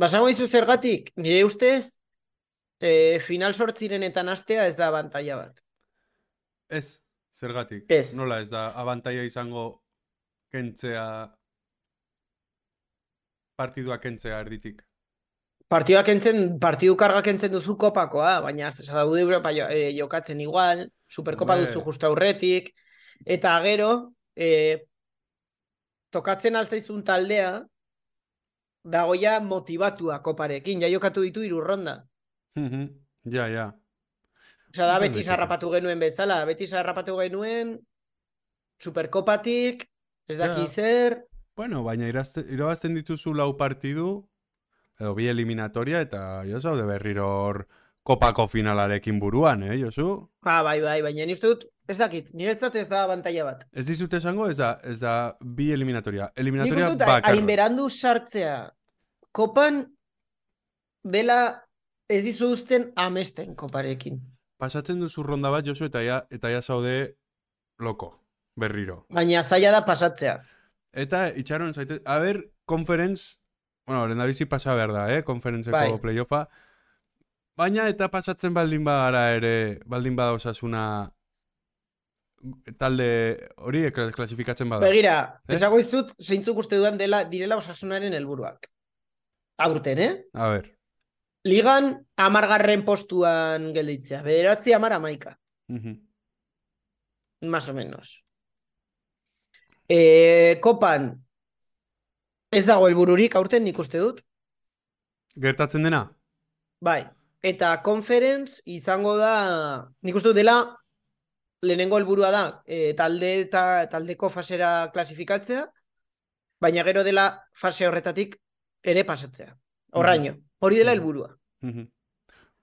[SPEAKER 1] Basango izu zergatik, nire ustez, e, final sortzirenetan astea ez da abantaia bat.
[SPEAKER 2] Ez, zergatik.
[SPEAKER 1] Ez.
[SPEAKER 2] Nola ez da, abantaia izango kentzea partidua kentzea erditik.
[SPEAKER 1] Partioak entzen, partidu karga kentzen duzu kopakoa, baina ez daude Europa jo- eh, jokatzen igual, Superkopa
[SPEAKER 2] Hombre.
[SPEAKER 1] duzu justu aurretik, eta gero, eh, tokatzen alzaizun taldea, dagoia motivatua koparekin, ja jokatu ditu hiru ronda.
[SPEAKER 2] Mhm. Ja, ja.
[SPEAKER 1] Osea, da
[SPEAKER 2] Izan
[SPEAKER 1] beti
[SPEAKER 2] daiteke.
[SPEAKER 1] sarrapatu genuen bezala, beti sarrapatu genuen, Superkopatik, ez daki
[SPEAKER 2] Ja.
[SPEAKER 1] zer,
[SPEAKER 2] Bueno, baina irazte- irabazten dituzu lau partidu, edo bi eliminatoria, eta jo zaude berriro hor kopako finalarekin buruan, eh, Josu?
[SPEAKER 1] Ah, bai, bai, baina ni uste dut, ez dakit, niretzat ez da abantaila bat.
[SPEAKER 2] Ez dizute esango, ez da, ez da bi eliminatoria.
[SPEAKER 1] Nik
[SPEAKER 2] Eliminatoria
[SPEAKER 1] uste dut,
[SPEAKER 2] bakarra.
[SPEAKER 1] hain berandu sartzea, kopan, dela Ez dizu uzten amesten koparekin.
[SPEAKER 2] Pasatzen duzu ronda bat, Josu, eta ja, eta ja zaude loko, berriro.
[SPEAKER 1] Baina zaila da pasatzea.
[SPEAKER 2] Eta itxaron zaitez, a ber, konferentz, bueno, lehendabizi pasa behar da, eh, konferentzeko
[SPEAKER 1] Bai.
[SPEAKER 2] playoffa. Baina eta pasatzen baldin bagara ere, baldin bada osasuna talde hori kla- klasifikatzen bada.
[SPEAKER 1] Begira,
[SPEAKER 2] Eh?
[SPEAKER 1] esago izut, zeintzuk uste dudan dela direla osasunaren helburuak. Aurten, eh?
[SPEAKER 2] A ber.
[SPEAKER 1] Ligan, amargarren postuan gelditzea. Bederatzi amar amaika,
[SPEAKER 2] mhm.
[SPEAKER 1] más o menos. Eh, kopan, ez dago helbururik aurten nik uste dut.
[SPEAKER 2] Gertatzen dena?
[SPEAKER 1] Bai, eta conference izango da, nik uste dut dela, lehenengo helburua da, eh, talde eta taldeko fasera klasifikatzea, baina gero dela fase horretatik ere pasatzea. Horraino, hori dela
[SPEAKER 2] Mhm.
[SPEAKER 1] helburua.
[SPEAKER 2] Mhm.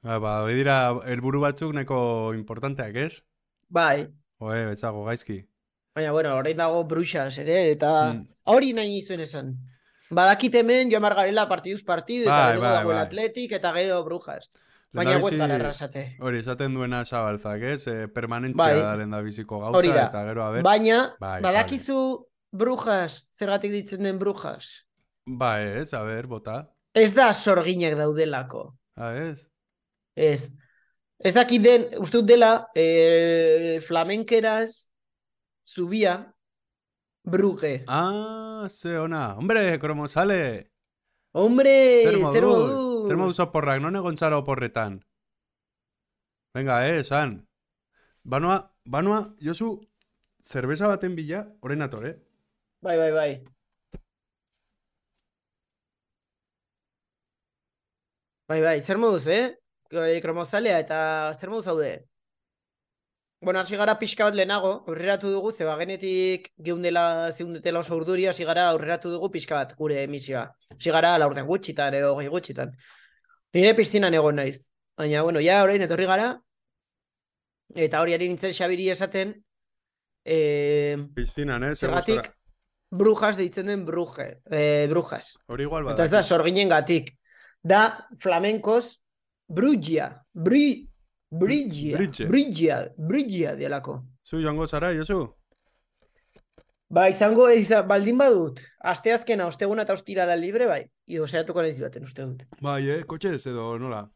[SPEAKER 2] Ba, ba, dira helburu batzuk neko importanteak, ez?
[SPEAKER 1] Bai,
[SPEAKER 2] Oe, betzago, gaizki.
[SPEAKER 1] baina bueno, orain dago bruxas ere, eta
[SPEAKER 2] Mm.
[SPEAKER 1] hori nahi izuen esan. Badakit hemen joan behar garela partiduz partidu, eta
[SPEAKER 2] Bai,
[SPEAKER 1] gero
[SPEAKER 2] bai,
[SPEAKER 1] dago el
[SPEAKER 2] bai.
[SPEAKER 1] Atletik, eta gero brujas. Baina
[SPEAKER 2] Lehendabizi-
[SPEAKER 1] huelta gara arrasate.
[SPEAKER 2] Hori, esaten duena zabalzak, ez? Eh, permanentzia
[SPEAKER 1] Bai.
[SPEAKER 2] da lehendabiziko gauza,
[SPEAKER 1] Hori da.
[SPEAKER 2] eta gero, a ber,
[SPEAKER 1] Baina,
[SPEAKER 2] Bai,
[SPEAKER 1] badakizu brujas, zergatik ditzen den brujas.
[SPEAKER 2] ba, ez, a ber, bota,
[SPEAKER 1] Ez da sorginak daudelako.
[SPEAKER 2] a ez?
[SPEAKER 1] Ez. Ez dakit den, uste dut dela, e, flamenkeraz, zubia, bruge.
[SPEAKER 2] Ah, ze ona, hombre, kromosale,
[SPEAKER 1] Hombre,
[SPEAKER 2] zer
[SPEAKER 1] zer
[SPEAKER 2] moduz,
[SPEAKER 1] moduz.
[SPEAKER 2] zer moduz oporrak, non egon zara oporretan? Venga, eh, esan. Banoa, banoa, Josu, zerbeza baten bila, orain ator, eh?
[SPEAKER 1] Bai, bai, bai. Bai, bai, zer moduz, eh? E, Kromozalea eta zer moduz haude? Bueno, hasi gara pixka bat lehenago, aurreratu dugu, ze bagenetik geundela, zeundetela oso urduri, hasi gara aurreratu dugu pixka bat gure emisioa. Hasi gara laurten gutxitan, edo goi gutxitan. Nire piztinan egon naiz. Baina, bueno, ja orain etorri gara, eta hori ari nintzen Xabiri esaten, eh,
[SPEAKER 2] Piztinan, eh, zer
[SPEAKER 1] Zergatik,
[SPEAKER 2] gustora.
[SPEAKER 1] brujas deitzen den bruje, eh, brujas.
[SPEAKER 2] Hori igual
[SPEAKER 1] Eta
[SPEAKER 2] bada.
[SPEAKER 1] ez da, sorginen gatik. Da, flamenkoz, brugia, bri, brigia,
[SPEAKER 2] Bridge.
[SPEAKER 1] brigia, brigia dialako.
[SPEAKER 2] Zu joango zara, Josu?
[SPEAKER 1] Ba, izango, iza, baldin badut, asteazkena, osteguna eta ostirala libre, bai, idoseatuko nahiz baten, uste dut.
[SPEAKER 2] Bai, eh, kotxez edo nola?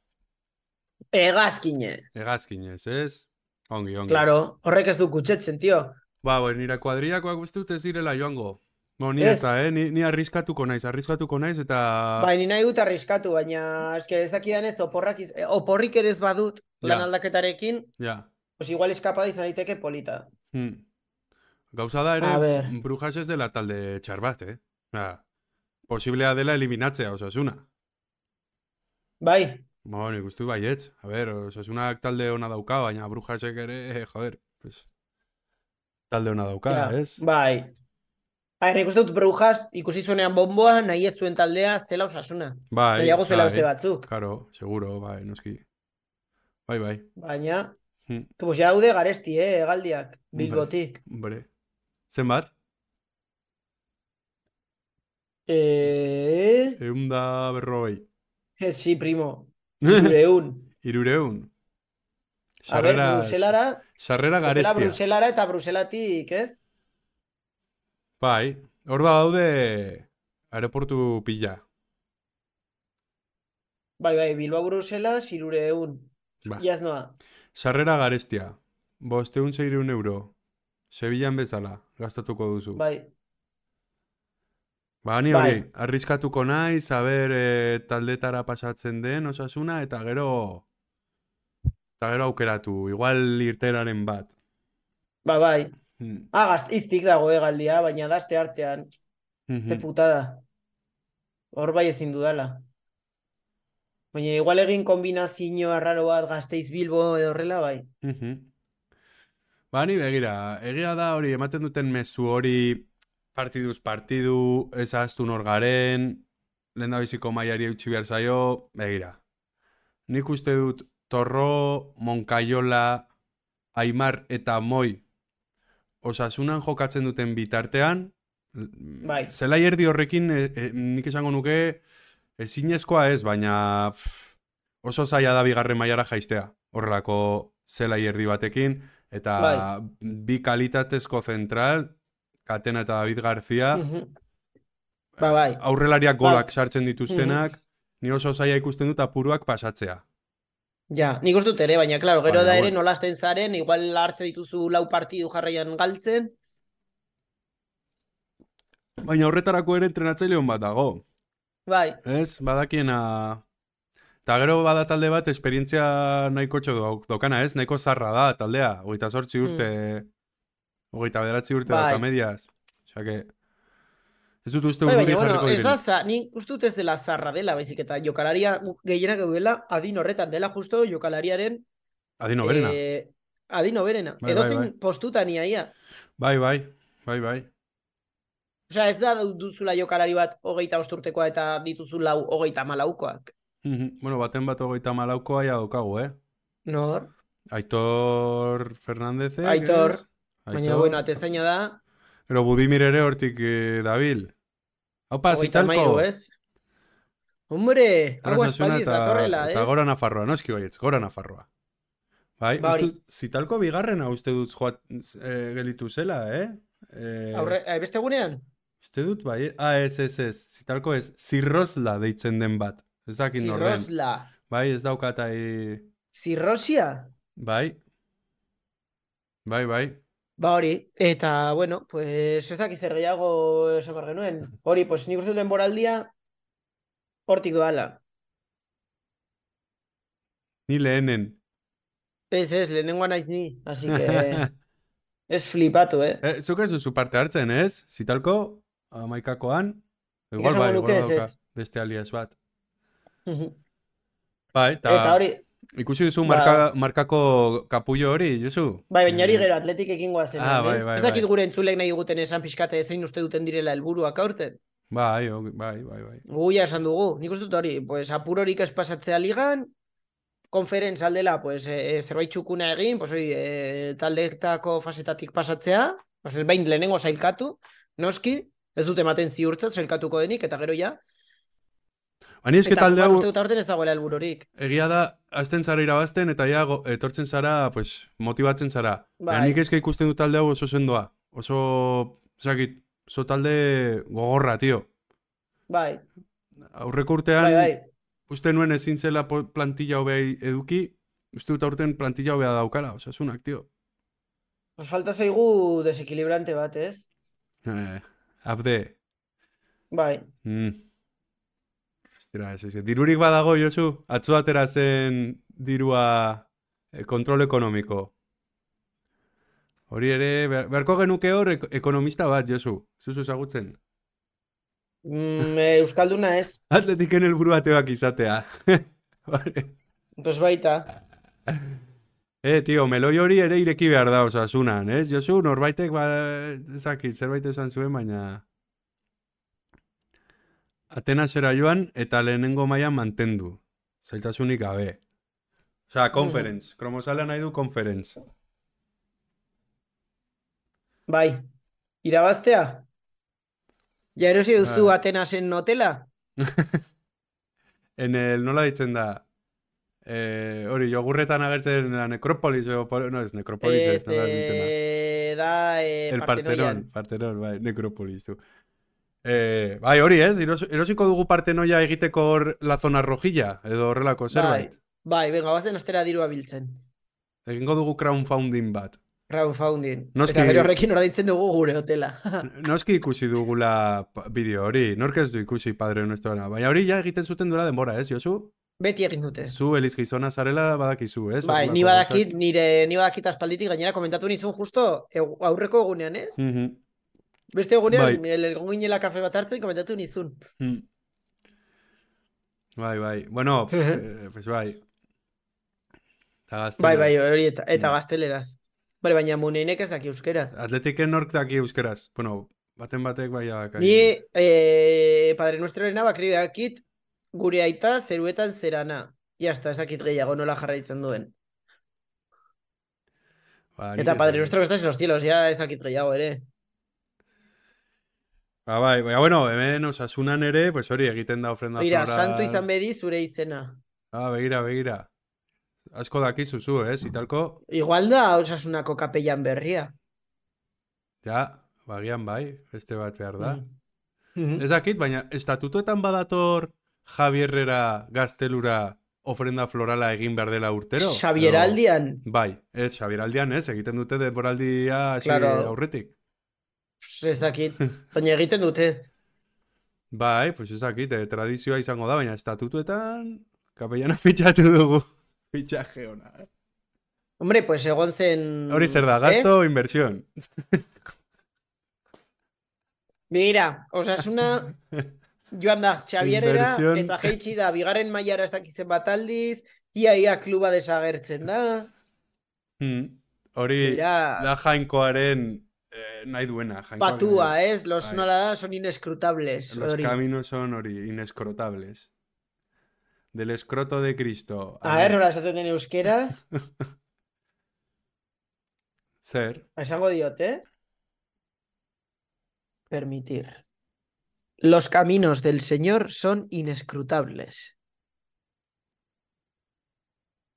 [SPEAKER 1] Egazkinez.
[SPEAKER 2] Hegazkinez, ez? Ongi, ongi.
[SPEAKER 1] Claro, horrek ez du kutsetzen, tio.
[SPEAKER 2] Ba, bueno, nira kuadriakoak uste dut ez direla joango. Bo, ni
[SPEAKER 1] Ez.
[SPEAKER 2] ez da, eh? Ni, ni arriskatuko naiz, arriskatuko naiz eta...
[SPEAKER 1] Bai, ni nahi dut arriskatu, baina eske ez dakidan ez, oporrak, iz- eh, oporrik ere ez badut lan
[SPEAKER 2] Ja.
[SPEAKER 1] aldaketarekin,
[SPEAKER 2] Ja.
[SPEAKER 1] pues igual eskapada izan daiteke polita.
[SPEAKER 2] Hmm. Gauza da
[SPEAKER 1] A
[SPEAKER 2] ere,
[SPEAKER 1] ber.
[SPEAKER 2] Brujas ez dela talde txar bat, eh? Ja. Posiblea dela eliminatzea, osasuna.
[SPEAKER 1] Bai,
[SPEAKER 2] Ba, nik uste dut baietz. A ber, osasunak talde ona dauka, baina Brujasek ere, eh, joder, pues... Talde ona dauka,
[SPEAKER 1] ja,
[SPEAKER 2] ez?
[SPEAKER 1] bai. A ver, ikusten dut Brujas ikusi zuenean bomboa, nahi ez zuen taldea zela osasuna.
[SPEAKER 2] Bai,
[SPEAKER 1] Nahiago zuela
[SPEAKER 2] bai,
[SPEAKER 1] beste batzuk.
[SPEAKER 2] Karo, seguro, bai, noski. Bai, bai.
[SPEAKER 1] Baina,
[SPEAKER 2] Hmm.
[SPEAKER 1] pues ja daude garesti, eh, hegaldiak, Bilbotik.
[SPEAKER 2] Hombre. Zenbat?
[SPEAKER 1] Eh,
[SPEAKER 2] Egun da berroi.
[SPEAKER 1] eh, sí, primo. Irureun.
[SPEAKER 2] Irureun.
[SPEAKER 1] A ver,
[SPEAKER 2] Sarrera-
[SPEAKER 1] Bruselara, Brusela,
[SPEAKER 2] sarrera garestia.
[SPEAKER 1] Bruselara eta Bruselatik, ez?
[SPEAKER 2] Bai, hor badaude aeroportu pila.
[SPEAKER 1] Bai, bai, Bilbao Brusela, irureun.
[SPEAKER 2] Ba.
[SPEAKER 1] Iaz noa.
[SPEAKER 2] Sarrera garestia. Bosteun zeireun euro. Sevillan bezala, gastatuko duzu.
[SPEAKER 1] Bai,
[SPEAKER 2] Ba, ni hori,
[SPEAKER 1] Bai.
[SPEAKER 2] arriskatuko naiz, aber eh, taldetara pasatzen den osasuna, eta gero... Eta gero aukeratu, igual irteraren bat.
[SPEAKER 1] ba, bai.
[SPEAKER 2] Hmm.
[SPEAKER 1] Ah, gaztiztik dago hegaldia, baina daste artean. Ze
[SPEAKER 2] Mhm.
[SPEAKER 1] putada. Hor bai ezin dudala. Baina igual egin kombinazio arraro bat gazteiz Bilbo edo horrela bai.
[SPEAKER 2] Mhm. Ba, ni begira, egia da hori, ematen duten mezu hori partiduz partidu, ez ahaztu nor garen, lehendabiziko mailari eutxi behar zaio, begira. Nik uste dut Torro, Moncayola, Aimar eta Moi osasunan jokatzen duten bitartean,
[SPEAKER 1] Bai.
[SPEAKER 2] zelai erdi horrekin, e, e, nik esango nuke, ezinezkoa ez, baina pff, oso zaila da bigarren mailara jaistea. Horrelako zela erdi batekin, eta
[SPEAKER 1] Bai.
[SPEAKER 2] bi kalitatezko zentral, Katena eta David García,
[SPEAKER 1] Mhm. Ba, bai.
[SPEAKER 2] aurrelariak
[SPEAKER 1] Bai.
[SPEAKER 2] golak sartzen dituztenak, ni oso zaila ikusten dut apuruak pasatzea.
[SPEAKER 1] Ja, nik uste dut ere, baina, claro, gero
[SPEAKER 2] Baina,
[SPEAKER 1] da ere
[SPEAKER 2] bueno.
[SPEAKER 1] nola hasten zaren, igual hartze dituzu lau partidu jarraian galtzen.
[SPEAKER 2] Baina horretarako ere entrenatzaile hon bat dago,
[SPEAKER 1] Bai,
[SPEAKER 2] ez? Badakiena... Eta gero bada talde bat, esperientzia nahiko txo dokana, ez? Nahiko zarra da taldea, hogeita sortzi urte, hogeita bederatzi urte
[SPEAKER 1] Hmm. Bai.
[SPEAKER 2] dauka mediaz. Osea que... Ez dut uste
[SPEAKER 1] bai,
[SPEAKER 2] urduri
[SPEAKER 1] baina, bueno,
[SPEAKER 2] jarriko
[SPEAKER 1] ez da,
[SPEAKER 2] direnik.
[SPEAKER 1] za, nik uste dut ez dela zarra dela, baizik eta jokalaria gu- gehienak daudela adin horretan, dela justo jokalariaren
[SPEAKER 2] Adino berena.
[SPEAKER 1] eh, adin oberena.
[SPEAKER 2] Bai,
[SPEAKER 1] Edozein
[SPEAKER 2] bai, bai.
[SPEAKER 1] postutan ia, ia.
[SPEAKER 2] Bai, bai, bai, bai.
[SPEAKER 1] Osea, ez da du- duzula jokalari bat hogeita osturtekoa eta dituzu lau hogeita malaukoak.
[SPEAKER 2] Mhm. bueno, baten bat hogeita malaukoa ja daukagu, eh?
[SPEAKER 1] Nor?
[SPEAKER 2] Aitor Fernandez, eh?
[SPEAKER 1] Aitor.
[SPEAKER 2] ez?
[SPEAKER 1] Baina,
[SPEAKER 2] Aitor.
[SPEAKER 1] bueno, atezaina da,
[SPEAKER 2] Gero Budimir ere hortik eh, dabil. Haupa,
[SPEAKER 1] hogeita
[SPEAKER 2] Ah, zitalko.
[SPEAKER 1] mairu, ez? Hombre,
[SPEAKER 2] Gara
[SPEAKER 1] algo
[SPEAKER 2] Osasuna
[SPEAKER 1] aspaldiz
[SPEAKER 2] eta,
[SPEAKER 1] datorrela,
[SPEAKER 2] eta
[SPEAKER 1] ez?
[SPEAKER 2] gora Nafarroa, noski baietz, gora Nafarroa. Bai,
[SPEAKER 1] Ba,
[SPEAKER 2] uste
[SPEAKER 1] hori.
[SPEAKER 2] dut, zitalko bigarrena uste dut joat, eh, gelitu zela, eh? Eh,
[SPEAKER 1] Aurre, eh, beste gunean?
[SPEAKER 2] Uste dut, bai, ah, ez, ez, ez, zitalko ez, zirrozla deitzen den bat. Ez dakit nor den.
[SPEAKER 1] Zirrosla.
[SPEAKER 2] Bai, ez daukata, eh,
[SPEAKER 1] Zirrosia?
[SPEAKER 2] bai. Bai, bai.
[SPEAKER 1] Ba hori, eta bueno, pues ez dakiz gehiago esan behar genuen. Hori, pues nik uste dut denboraldia hortik doala.
[SPEAKER 2] Ni lehenen.
[SPEAKER 1] Ez, ez, lehenengoa naiz ni, así que ez flipatu, eh?
[SPEAKER 2] Eh, zuk ez duzu parte hartzen, ez? Zitalko, amaikakoan, igual
[SPEAKER 1] esango
[SPEAKER 2] bai, igual
[SPEAKER 1] nuke
[SPEAKER 2] dauka
[SPEAKER 1] ezetz.
[SPEAKER 2] beste alias bat.
[SPEAKER 1] Ujú.
[SPEAKER 2] Bai,
[SPEAKER 1] Eta hori,
[SPEAKER 2] Ikusi duzu
[SPEAKER 1] Ba-
[SPEAKER 2] marka, markako kapullo hori, Josu?
[SPEAKER 1] bai, baina hori
[SPEAKER 2] Eh,
[SPEAKER 1] gero atletik ekin goazen,
[SPEAKER 2] Ah, bai,
[SPEAKER 1] ez?
[SPEAKER 2] bai,
[SPEAKER 1] Ez dakit
[SPEAKER 2] bai.
[SPEAKER 1] gure entzulek nahi guten esan pixkate zein uste duten direla helburuak aurten.
[SPEAKER 2] Bai, o- bai, bai, bai.
[SPEAKER 1] Guia esan dugu, nik uste dut hori, pues apurorik ez pasatzea ligan, konferentz aldela, pues e, e, zerbait txukuna egin, pues hori, e, taldeetako fasetatik pasatzea, pues ez behin lehenengo zailkatu, noski, ez dut ematen ziurtzat zailkatuko denik, eta gero ja,
[SPEAKER 2] Baina Bai, eske
[SPEAKER 1] eta
[SPEAKER 2] talde
[SPEAKER 1] jokoan
[SPEAKER 2] hau
[SPEAKER 1] uste dut aurten ez dagoela helbururik.
[SPEAKER 2] egia da, azten zara irabazten eta ja go- etortzen zara, pues, motibatzen zara. Baina
[SPEAKER 1] Bai.
[SPEAKER 2] nik eske ikusten dut talde hau oso sendoa. Oso, zakit, oso talde gogorra, tio.
[SPEAKER 1] Bai,
[SPEAKER 2] Aurreko urtean,
[SPEAKER 1] bai, bai.
[SPEAKER 2] uste nuen ezin zela po- plantilla hobea i- eduki, uste dut aurten plantilla hobea daukala, osasunak, tio.
[SPEAKER 1] Pues falta zaigu desekilibrante bat, ez?
[SPEAKER 2] Eh, abde.
[SPEAKER 1] Bai.
[SPEAKER 2] Mm. Ostras, ez, ez. Dirurik badago, Josu, atzo atera zen dirua eh, kontrol ekonomiko. Hori ere, behar- beharko genuke hor ek- ekonomista bat, Josu. Zuzu ezagutzen.
[SPEAKER 1] Mm, e, Euskalduna ez,
[SPEAKER 2] Atletiken helburu ateak izatea. Vale.
[SPEAKER 1] pues baita.
[SPEAKER 2] eh, tio, meloi hori ere ireki behar da osasunan, ez? Josu, norbaitek ba, ezakit, zerbait esan zuen, baina... Atenasera joan eta lehenengo mailan mantendu. Zailtasunik gabe. Osea, conference. Kromosala nahi du conference.
[SPEAKER 1] Bai. Irabaztea? Ja erosi duzu
[SPEAKER 2] Bai.
[SPEAKER 1] Atenasen notela?
[SPEAKER 2] En el, nola ditzen da? Eh, hori, jogurretan agertzen da nekropolis, edo, po- no, ez nekropolis, ez,
[SPEAKER 1] Ez,
[SPEAKER 2] nola ditzen da.
[SPEAKER 1] eh, da eh,
[SPEAKER 2] El Partenon,
[SPEAKER 1] Partenoian.
[SPEAKER 2] Partenon, bai, nekropolis du. Eh, bai, hori ez, eros- erosiko dugu Partenoia egiteko hor la zona rojilla, edo horrelako zerbait.
[SPEAKER 1] Bai, venga, bazen ostera dirua biltzen.
[SPEAKER 2] Egingo dugu crowdfunding bat.
[SPEAKER 1] Crowdfunding.
[SPEAKER 2] Noski-
[SPEAKER 1] Eta gero horrekin ordaintzen dugu gure hotela.
[SPEAKER 2] Noski ikusi dugula pa- bideo hori, nork ez du ikusi Padre Nuestroana. Baina hori ja egiten zuten duela denbora, ez, Josu?
[SPEAKER 1] Beti egin dute.
[SPEAKER 2] Zu eliz gizona zarela badakizu, ez?
[SPEAKER 1] Bai,
[SPEAKER 2] Horrelako
[SPEAKER 1] ni
[SPEAKER 2] gauzak.
[SPEAKER 1] badakit, nire, ni badakit aspalditik gainera komentatu nizun justo egu- aurreko egunean, ez?
[SPEAKER 2] Mhm,
[SPEAKER 1] Beste egunean,
[SPEAKER 2] Bai.
[SPEAKER 1] nire egon ginela kafe bat hartzen komentatu nizun.
[SPEAKER 2] mhm. Bai, bai. Bueno, pf, eh, pues bai. Eta
[SPEAKER 1] Bai,
[SPEAKER 2] gaztelera.
[SPEAKER 1] bai, hori eta, eta
[SPEAKER 2] Mm.
[SPEAKER 1] gazteleraz. Bai, baina muneinek ez daki euskeraz.
[SPEAKER 2] Atletiken nork daki euskeraz. Bueno, baten batek bai badaki.
[SPEAKER 1] Ni, eh, Padre Nuestroarena bakri dakit, gure aita zeruetan zerana. Ja, está, ez dakit gehiago nola jarraitzen duen.
[SPEAKER 2] Ba, nik
[SPEAKER 1] Eta
[SPEAKER 2] ez
[SPEAKER 1] Padre
[SPEAKER 2] dakit.
[SPEAKER 1] Nuestro que estás en los cielos, ja, ez dakit gehiago ere.
[SPEAKER 2] Ba, bai, baina, bueno, hemen osasunan ere, pues hori egiten da ofrenda
[SPEAKER 1] Mira,
[SPEAKER 2] floral.
[SPEAKER 1] santu izan bedi zure izena.
[SPEAKER 2] Ah, begira, begira. Asko dakizu zu, eh, ez? Italko,
[SPEAKER 1] Igual da osasunako kapellan berria.
[SPEAKER 2] ja, bagian bai, beste bat behar da.
[SPEAKER 1] Mm. Mhm.
[SPEAKER 2] Ez dakit, baina estatutuetan badator Javierrera gaztelura ofrenda florala egin behar dela urtero. edo-
[SPEAKER 1] Xabieraldian,
[SPEAKER 2] Bai, ez, Xabieraldian ez, egiten dute denboraldia hasi
[SPEAKER 1] Claro.
[SPEAKER 2] aurretik.
[SPEAKER 1] pss, ez dakit, baina egiten dute.
[SPEAKER 2] Bai, pues ez dakit, eh, tradizioa izango da, baina estatutuetan kapellana fitxatu dugu. Fitxaje ona.
[SPEAKER 1] Hombre, pues egon zen...
[SPEAKER 2] Hori zer da,
[SPEAKER 1] ¿Ez?
[SPEAKER 2] gasto o inversión?
[SPEAKER 1] Begira, osasuna joan da Xabierera
[SPEAKER 2] Inversión.
[SPEAKER 1] eta jeitsi da, bigarren mailara ez dakizen bat aldiz, ia ia kluba desagertzen da.
[SPEAKER 2] Mm, Hori
[SPEAKER 1] Beraz,
[SPEAKER 2] da jainkoaren eh, nahi duena. jainkoak
[SPEAKER 1] patua, ez? Los
[SPEAKER 2] Bai.
[SPEAKER 1] nola da, son inescrutables.
[SPEAKER 2] Los
[SPEAKER 1] hori.
[SPEAKER 2] caminos son ori- inescrotables. Del escroto de Cristo.
[SPEAKER 1] A ver, nola esaten den euskeraz,
[SPEAKER 2] Zer.
[SPEAKER 1] esango diot, eh? Permitir. Los caminos del Señor son inescrutables.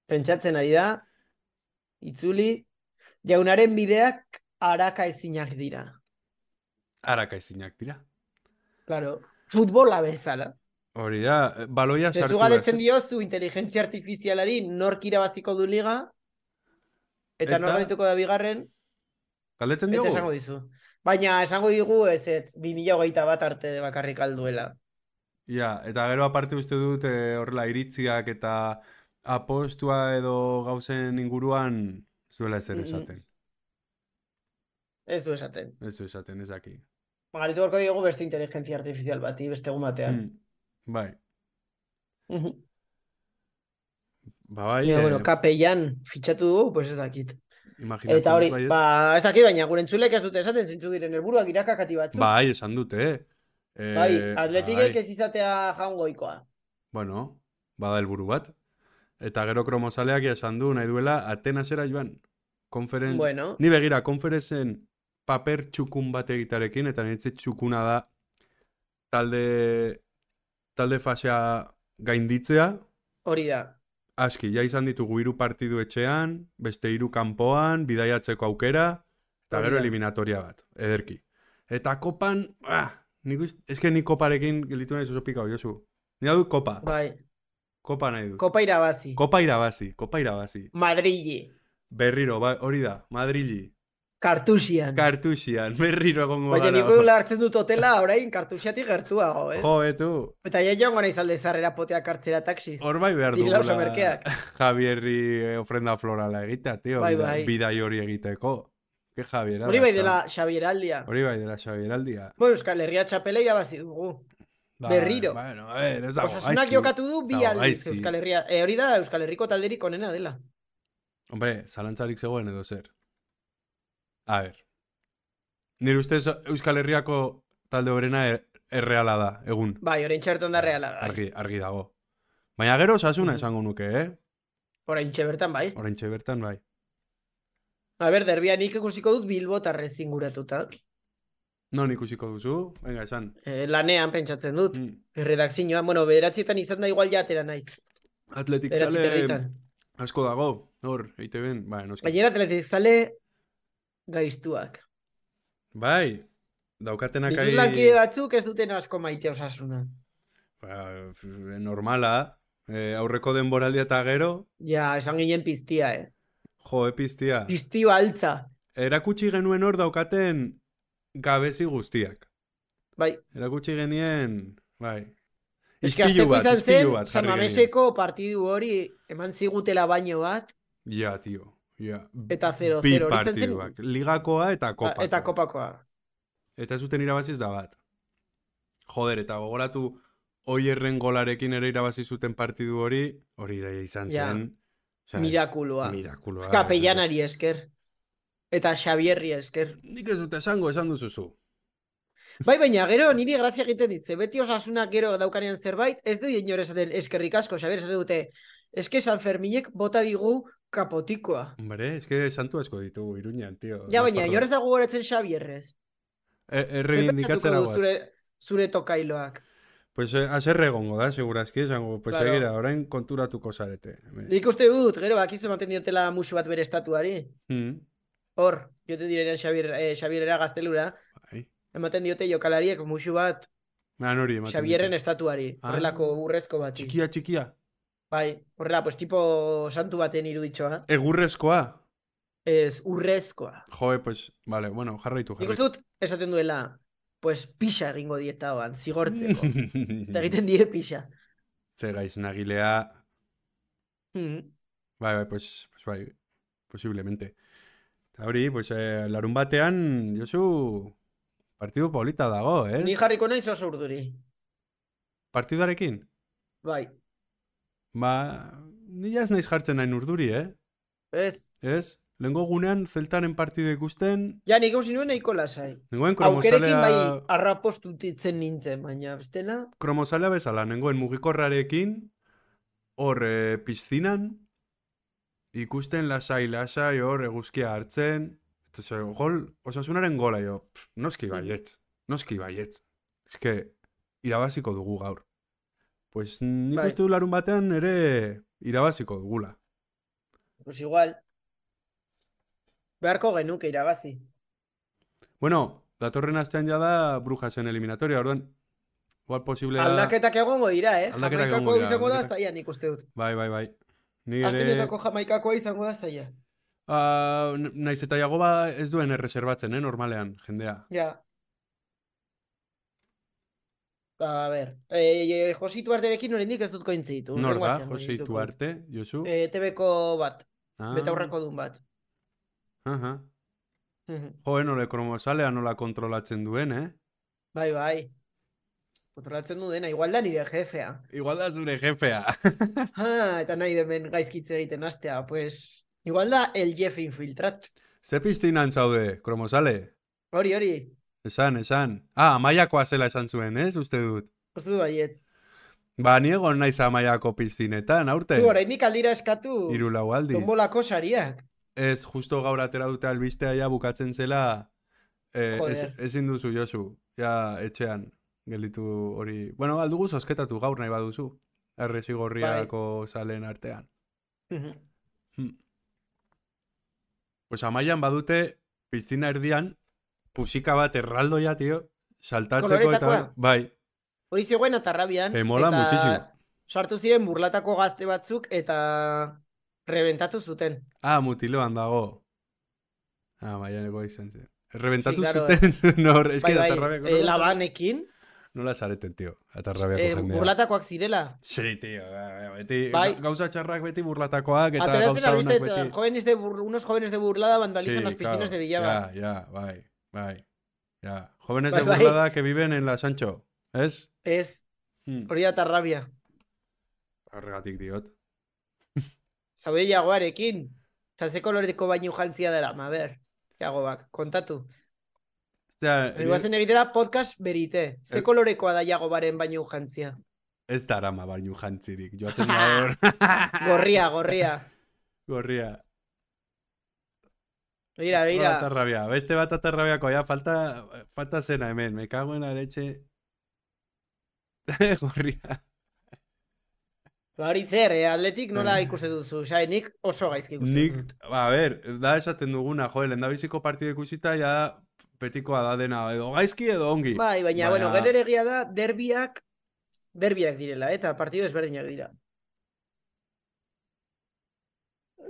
[SPEAKER 1] Pentsatzen ari da, itzuli, jaunaren bideak araka ezinak dira.
[SPEAKER 2] Araka ezinak dira.
[SPEAKER 1] Claro, futbola bezala.
[SPEAKER 2] Hori da, eh, baloia sartu
[SPEAKER 1] Zezu
[SPEAKER 2] behar
[SPEAKER 1] galdetzen
[SPEAKER 2] zen.
[SPEAKER 1] diozu inteligentzia artifizialari nork irabaziko du liga, eta,
[SPEAKER 2] Eta-
[SPEAKER 1] nor gaituko da bigarren,
[SPEAKER 2] Galdetzen
[SPEAKER 1] Eta
[SPEAKER 2] diogu?
[SPEAKER 1] esango dizu. Baina esango digu ez ez 2021 bat arte bakarrik alduela.
[SPEAKER 2] Ja, eta gero aparte uste dut eh, horrela iritziak eta apostua edo gauzen inguruan ez duela ezer
[SPEAKER 1] Mm, mm.
[SPEAKER 2] esaten.
[SPEAKER 1] Ez du esaten.
[SPEAKER 2] Ez du esaten, ez daki.
[SPEAKER 1] Magaritu gorko diogu beste inteligentzia artifizial bati, beste egun batean.
[SPEAKER 2] Mm. Bai,
[SPEAKER 1] Mhm.
[SPEAKER 2] ba Hmm. bai,
[SPEAKER 1] Baina,
[SPEAKER 2] eh,
[SPEAKER 1] bueno, kapellan fitxatu dugu, pues ez dakit.
[SPEAKER 2] imaginatzen bai
[SPEAKER 1] Eta
[SPEAKER 2] dut
[SPEAKER 1] hori,
[SPEAKER 2] baietz.
[SPEAKER 1] ba, ez dakit, baina gure entzulek ez dute esaten zintzuk diren helburuak irakakati batzuk.
[SPEAKER 2] Bai, esan dute, eh. Eh,
[SPEAKER 1] bai, atletikek
[SPEAKER 2] bai.
[SPEAKER 1] ez izatea jaungoikoa.
[SPEAKER 2] Bueno, bada helburu bat. Eta gero kromozaleak ja esan du nahi duela Atenasera joan. Konferentz...
[SPEAKER 1] Bueno,
[SPEAKER 2] Ni begira, konferentzen paper txukun bat egitarekin, eta nire txukuna da talde, talde fasea gainditzea.
[SPEAKER 1] hori da.
[SPEAKER 2] Aski, ja izan ditugu hiru partidu etxean, beste hiru kanpoan, bidaiatzeko aukera, eta
[SPEAKER 1] Hori
[SPEAKER 2] gero
[SPEAKER 1] da.
[SPEAKER 2] eliminatoria bat, ederki. Eta kopan, ah, nik uste, eske ni koparekin gelditu nahi oso pika Josu. Ni dut kopa,
[SPEAKER 1] Bai,
[SPEAKER 2] kopa nahi dut.
[SPEAKER 1] kopa irabazi.
[SPEAKER 2] Kopa irabazi, kopa irabazi.
[SPEAKER 1] Madrili,
[SPEAKER 2] Berriro, ba, hori da, Madrili,
[SPEAKER 1] kartusian.
[SPEAKER 2] kartuxian, berriro egongo
[SPEAKER 1] Baina
[SPEAKER 2] gara.
[SPEAKER 1] nik uste hartzen dut hotela orain kartusiatik gertuago, eh?
[SPEAKER 2] Jo, etu,
[SPEAKER 1] Eta ja joango naiz alde zarrera poteak hartzera taksiz.
[SPEAKER 2] hor bai behar
[SPEAKER 1] Zirela oso
[SPEAKER 2] dugula
[SPEAKER 1] merkeak.
[SPEAKER 2] Javierri eh, ofrenda florala egitea, tio,
[SPEAKER 1] Bai,
[SPEAKER 2] bida-
[SPEAKER 1] bai.
[SPEAKER 2] bidai hori egiteko. Ke Javier,
[SPEAKER 1] Hori bai dela Xabier Aldia.
[SPEAKER 2] Hori bai dela Xavier aldia.
[SPEAKER 1] Bueno, Euskal Herria txapela irabazi dugu.
[SPEAKER 2] Ba,
[SPEAKER 1] Berriro.
[SPEAKER 2] Bueno, a ver, ez dago
[SPEAKER 1] Osasunak
[SPEAKER 2] gaizki.
[SPEAKER 1] jokatu du bi
[SPEAKER 2] Dago
[SPEAKER 1] aldiz
[SPEAKER 2] gaizki.
[SPEAKER 1] Euskal Herria. E, hori da Euskal Herriko talderik onena dela.
[SPEAKER 2] Hombre, zalantzarik zegoen edo zer. A ver. Nire ustez Euskal Herriako talde horrena er, erreala da, egun.
[SPEAKER 1] Bai, orain txerton da reala. bai.
[SPEAKER 2] Argi, argi dago. Baina gero osasuna
[SPEAKER 1] Mhm.
[SPEAKER 2] esango nuke, eh?
[SPEAKER 1] Orain bertan bai.
[SPEAKER 2] Oraintxe bertan bai.
[SPEAKER 1] A ber, derbia nik ikusiko dut Bilbo tarrez inguratuta.
[SPEAKER 2] Non ikusiko duzu? Venga, esan.
[SPEAKER 1] E, lanean pentsatzen dut.
[SPEAKER 2] Mm.
[SPEAKER 1] Redakzioan, bueno, bederatzietan izan da igual jatera naiz.
[SPEAKER 2] Atletik
[SPEAKER 1] Bederatzi
[SPEAKER 2] zale
[SPEAKER 1] territan.
[SPEAKER 2] asko dago. Hor, eite ben. Ba, noski.
[SPEAKER 1] Gainera teletik zale gaiztuak.
[SPEAKER 2] Bai, daukatenak
[SPEAKER 1] Ditut
[SPEAKER 2] ari...
[SPEAKER 1] lankide batzuk ez duten asko maite osasuna.
[SPEAKER 2] Ba, f- f- normala. Eh, aurreko denboraldia eta gero,
[SPEAKER 1] Ja, esan ginen piztia, eh.
[SPEAKER 2] jo, epiztia.
[SPEAKER 1] Pizti baltza.
[SPEAKER 2] Erakutsi genuen hor daukaten gabezi guztiak.
[SPEAKER 1] Bai,
[SPEAKER 2] Erakutsi genien, bai.
[SPEAKER 1] eske
[SPEAKER 2] Ispilu
[SPEAKER 1] azteko
[SPEAKER 2] bat,
[SPEAKER 1] izan
[SPEAKER 2] ispilu
[SPEAKER 1] zen,
[SPEAKER 2] bat
[SPEAKER 1] San
[SPEAKER 2] jarri genien.
[SPEAKER 1] Mameseko partidu hori eman zigutela baino bat,
[SPEAKER 2] Ja, tio. Ja.
[SPEAKER 1] Eta zero,
[SPEAKER 2] Bi
[SPEAKER 1] zero, hori izan zen-
[SPEAKER 2] partiduak. Ligakoa eta
[SPEAKER 1] ba,
[SPEAKER 2] kopakoa.
[SPEAKER 1] eta kopakoa.
[SPEAKER 2] Eta ez zuten irabaziz da bat. Joder, eta gogoratu oierren golarekin ere irabazi zuten partidu hori, hori iraia izan
[SPEAKER 1] Ja.
[SPEAKER 2] zen. Osea,
[SPEAKER 1] Mirakulua.
[SPEAKER 2] Mirakuloa.
[SPEAKER 1] Kapellanari esker. Eta Xabierri esker.
[SPEAKER 2] Nik ez dut esango, esan duzuzu.
[SPEAKER 1] Bai, baina gero niri grazia egiten ditze. Beti osasunak gero daukanean zerbait, ez du inor esaten eskerrik asko, Xabier esaten dute, eske San Ferminek bota digu kapotikoa.
[SPEAKER 2] Hombre, ez que santu asko ditugu Iruñan, tio.
[SPEAKER 1] Ja, baina inor ez
[SPEAKER 2] Nafarroa.
[SPEAKER 1] da gogoratzen Xabierrez.
[SPEAKER 2] E-
[SPEAKER 1] Zer
[SPEAKER 2] Erreindikatzera
[SPEAKER 1] pentsatuko du
[SPEAKER 2] guaz.
[SPEAKER 1] zure, zure tokailoak.
[SPEAKER 2] Pues eh, haserre egongo da, segurazki, esango, pues
[SPEAKER 1] Claro.
[SPEAKER 2] begira, orain konturatuko zarete. hemen.
[SPEAKER 1] Nik uste dut, gero, bakizu ematen diotela musu bat bere estatuari.
[SPEAKER 2] Mm,
[SPEAKER 1] Hor, joten direnean Xabier, eh, Xabierera gaztelura,
[SPEAKER 2] bai.
[SPEAKER 1] ematen diote jokalariek musu bat
[SPEAKER 2] Man hori ematen
[SPEAKER 1] Xabierren
[SPEAKER 2] dute.
[SPEAKER 1] estatuari,
[SPEAKER 2] Ah.
[SPEAKER 1] horrelako urrezko bati.
[SPEAKER 2] Txikia, txikia.
[SPEAKER 1] Bai, horrela, pues tipo santu baten iruditxoa.
[SPEAKER 2] Egurrezkoa.
[SPEAKER 1] Ez, urrezkoa.
[SPEAKER 2] Joe, pues, vale, bueno, jarraitu,
[SPEAKER 1] Nik uste
[SPEAKER 2] jarraitu.
[SPEAKER 1] dut, esaten duela, pues pixa egingo dieta hoan, zigortzeko. Eta egiten die pixa.
[SPEAKER 2] Ze gaiz nagilea,
[SPEAKER 1] Mhm.
[SPEAKER 2] Bai, bai, pues, pues bai, posiblemente. Eta hori, pues, eh, larun batean, Josu, partidu polita dago, eh?
[SPEAKER 1] Ni jarriko naiz oso urduri.
[SPEAKER 2] Partidarekin?
[SPEAKER 1] Bai,
[SPEAKER 2] Ba, nila ez naiz jartzen nahi urduri, eh?
[SPEAKER 1] ez.
[SPEAKER 2] Ez? Lengo gunean, zeltaren partidu ikusten,
[SPEAKER 1] Ja, nik eusin nuen nahiko lasai.
[SPEAKER 2] nengoen
[SPEAKER 1] Aukerekin
[SPEAKER 2] kromozalea,
[SPEAKER 1] bai arrapostutitzen nintzen, baina bestela...
[SPEAKER 2] kromozalea bezala, nengoen mugikorrarekin, hor eh, piztinan, ikusten lasai, lasai, hor eguzkia hartzen, eta ze, gol, osasunaren gola jo, pff, noski baietz, noski baietz. Ez que, irabaziko dugu gaur. Pues nik
[SPEAKER 1] Bai.
[SPEAKER 2] uste dut larun batean ere irabaziko dugula.
[SPEAKER 1] Pues igual. Beharko genuke irabazi.
[SPEAKER 2] Bueno, datorren astean ja da Brujasen eliminatoria, orduan, igual posible da...
[SPEAKER 1] Aldaketak egongo dira, eh?
[SPEAKER 2] Aldaketak
[SPEAKER 1] Jamaikakoa
[SPEAKER 2] egongo dira,
[SPEAKER 1] izango da
[SPEAKER 2] aldaketak.
[SPEAKER 1] zaila nik uste dut.
[SPEAKER 2] Bai, bai, bai. Ni
[SPEAKER 1] Aste
[SPEAKER 2] ere,
[SPEAKER 1] honetako jamaikakoa izango da zaila.
[SPEAKER 2] ah, n- naiz eta jagoba ez duen erreserbatzen, eh, normalean, jendea.
[SPEAKER 1] Ja. Ba, A ber, e, e, Josi Tuarterekin oraindik ez dut kointzitu.
[SPEAKER 2] Nor
[SPEAKER 1] hurrengo
[SPEAKER 2] da,
[SPEAKER 1] astean
[SPEAKER 2] Jose
[SPEAKER 1] kointzituko dut.
[SPEAKER 2] Ituarte, Josu?
[SPEAKER 1] E, TVko bat,
[SPEAKER 2] Ah,
[SPEAKER 1] betaurreko dun bat.
[SPEAKER 2] aha.
[SPEAKER 1] Mhm.
[SPEAKER 2] Jo, nola kromozalea nola kontrolatzen duen, eh?
[SPEAKER 1] Bai, bai. Kontrolatzen du dena, igual da nire jefea.
[SPEAKER 2] Igual da zure jefea.
[SPEAKER 1] Ha, eta nahi demen gaizkitze egiten astea, pues... Igual da el jefe infiltrat.
[SPEAKER 2] Ze piztinan zaude, kromozale?
[SPEAKER 1] Hori, hori,
[SPEAKER 2] Esan, esan. Ah, amaiakoa zela esan zuen, ez, uste dut.
[SPEAKER 1] uste du baietz.
[SPEAKER 2] Ba, ni egon naiz amaiako piztinetan, aurten.
[SPEAKER 1] Du, oraindik aldira eskatu
[SPEAKER 2] Hiru lau aldiz.
[SPEAKER 1] tombolako sariak.
[SPEAKER 2] Ez, justo gaur atera dute albistea ja bukatzen zela eh, ez,
[SPEAKER 1] Joder.
[SPEAKER 2] ezin duzu, Josu. Ja, etxean gelditu hori. Bueno, aldugu zozketatu gaur nahi baduzu. Errezi
[SPEAKER 1] Bai.
[SPEAKER 2] gorriako zalen artean.
[SPEAKER 1] Mhm.
[SPEAKER 2] Pues amaian badute piztina erdian, pusika bat erraldoia, tío, saltatzeko eta...
[SPEAKER 1] Koloretakoa?
[SPEAKER 2] Bai,
[SPEAKER 1] Hori zegoen atarrabian.
[SPEAKER 2] Eh, mola
[SPEAKER 1] eta
[SPEAKER 2] muchísimo.
[SPEAKER 1] Sartu ziren burlatako gazte batzuk eta rebentatu zuten.
[SPEAKER 2] ah, mutiloan dago. Ah, maianeko izan zen. Rebentatu
[SPEAKER 1] Sí, claro,
[SPEAKER 2] zuten, no, es que
[SPEAKER 1] bai, bai,
[SPEAKER 2] atarrabiako
[SPEAKER 1] eh, labanekin,
[SPEAKER 2] Nola zareten, tío, atarrabiako
[SPEAKER 1] eh,
[SPEAKER 2] jendea.
[SPEAKER 1] burlatakoak zirela.
[SPEAKER 2] Sí, tío, ba- ba- beti,
[SPEAKER 1] Bai.
[SPEAKER 2] ga- gauza txarrak beti burlatakoak eta
[SPEAKER 1] Ateratzen
[SPEAKER 2] gauza
[SPEAKER 1] albiste,
[SPEAKER 2] honak
[SPEAKER 1] eta
[SPEAKER 2] beti...
[SPEAKER 1] jóvenes de bur- unos jóvenes de burlada vandalizan
[SPEAKER 2] Sí,
[SPEAKER 1] las piscinas
[SPEAKER 2] claro,
[SPEAKER 1] de Villaba.
[SPEAKER 2] Ya, ya, bai, bai, ya. Jóvenes
[SPEAKER 1] Bai,
[SPEAKER 2] de
[SPEAKER 1] bai.
[SPEAKER 2] burlada que viven en la Sancho, ¿es?
[SPEAKER 1] Ez,
[SPEAKER 2] Mm.
[SPEAKER 1] hori da atarrabia.
[SPEAKER 2] Horregatik diot.
[SPEAKER 1] Zaude jagoarekin. Eta ze koloreko baino jantzia dara, ma ber. Jagoak, kontatu.
[SPEAKER 2] Ostia,
[SPEAKER 1] Hori guazen egitera podcast berite. Ze
[SPEAKER 2] Eh.
[SPEAKER 1] kolorekoa da jagobaren baino jantzia.
[SPEAKER 2] ez darama bainu jantzirik, joaten
[SPEAKER 1] Ah.
[SPEAKER 2] da hor.
[SPEAKER 1] Gorria, gorria.
[SPEAKER 2] Gorria.
[SPEAKER 1] Mira,
[SPEAKER 2] Hola,
[SPEAKER 1] mira.
[SPEAKER 2] atarrabia. Beste bat atarrabiako, ja, falta, falta zena hemen. Me cago en la leche. Gorria.
[SPEAKER 1] Ba hori zer, eh? atletik nola ikusten duzu, xai, nik oso gaizki ikusten
[SPEAKER 2] Nik,
[SPEAKER 1] dut.
[SPEAKER 2] ba, a ber, da esaten duguna, jo, lehendabiziko partidu ikusita, ja, betikoa da dena, edo gaizki edo ongi.
[SPEAKER 1] Bai, baina,
[SPEAKER 2] Baina-
[SPEAKER 1] bueno, gero ere egia da, derbiak, derbiak direla, eta partido ezberdinak dira.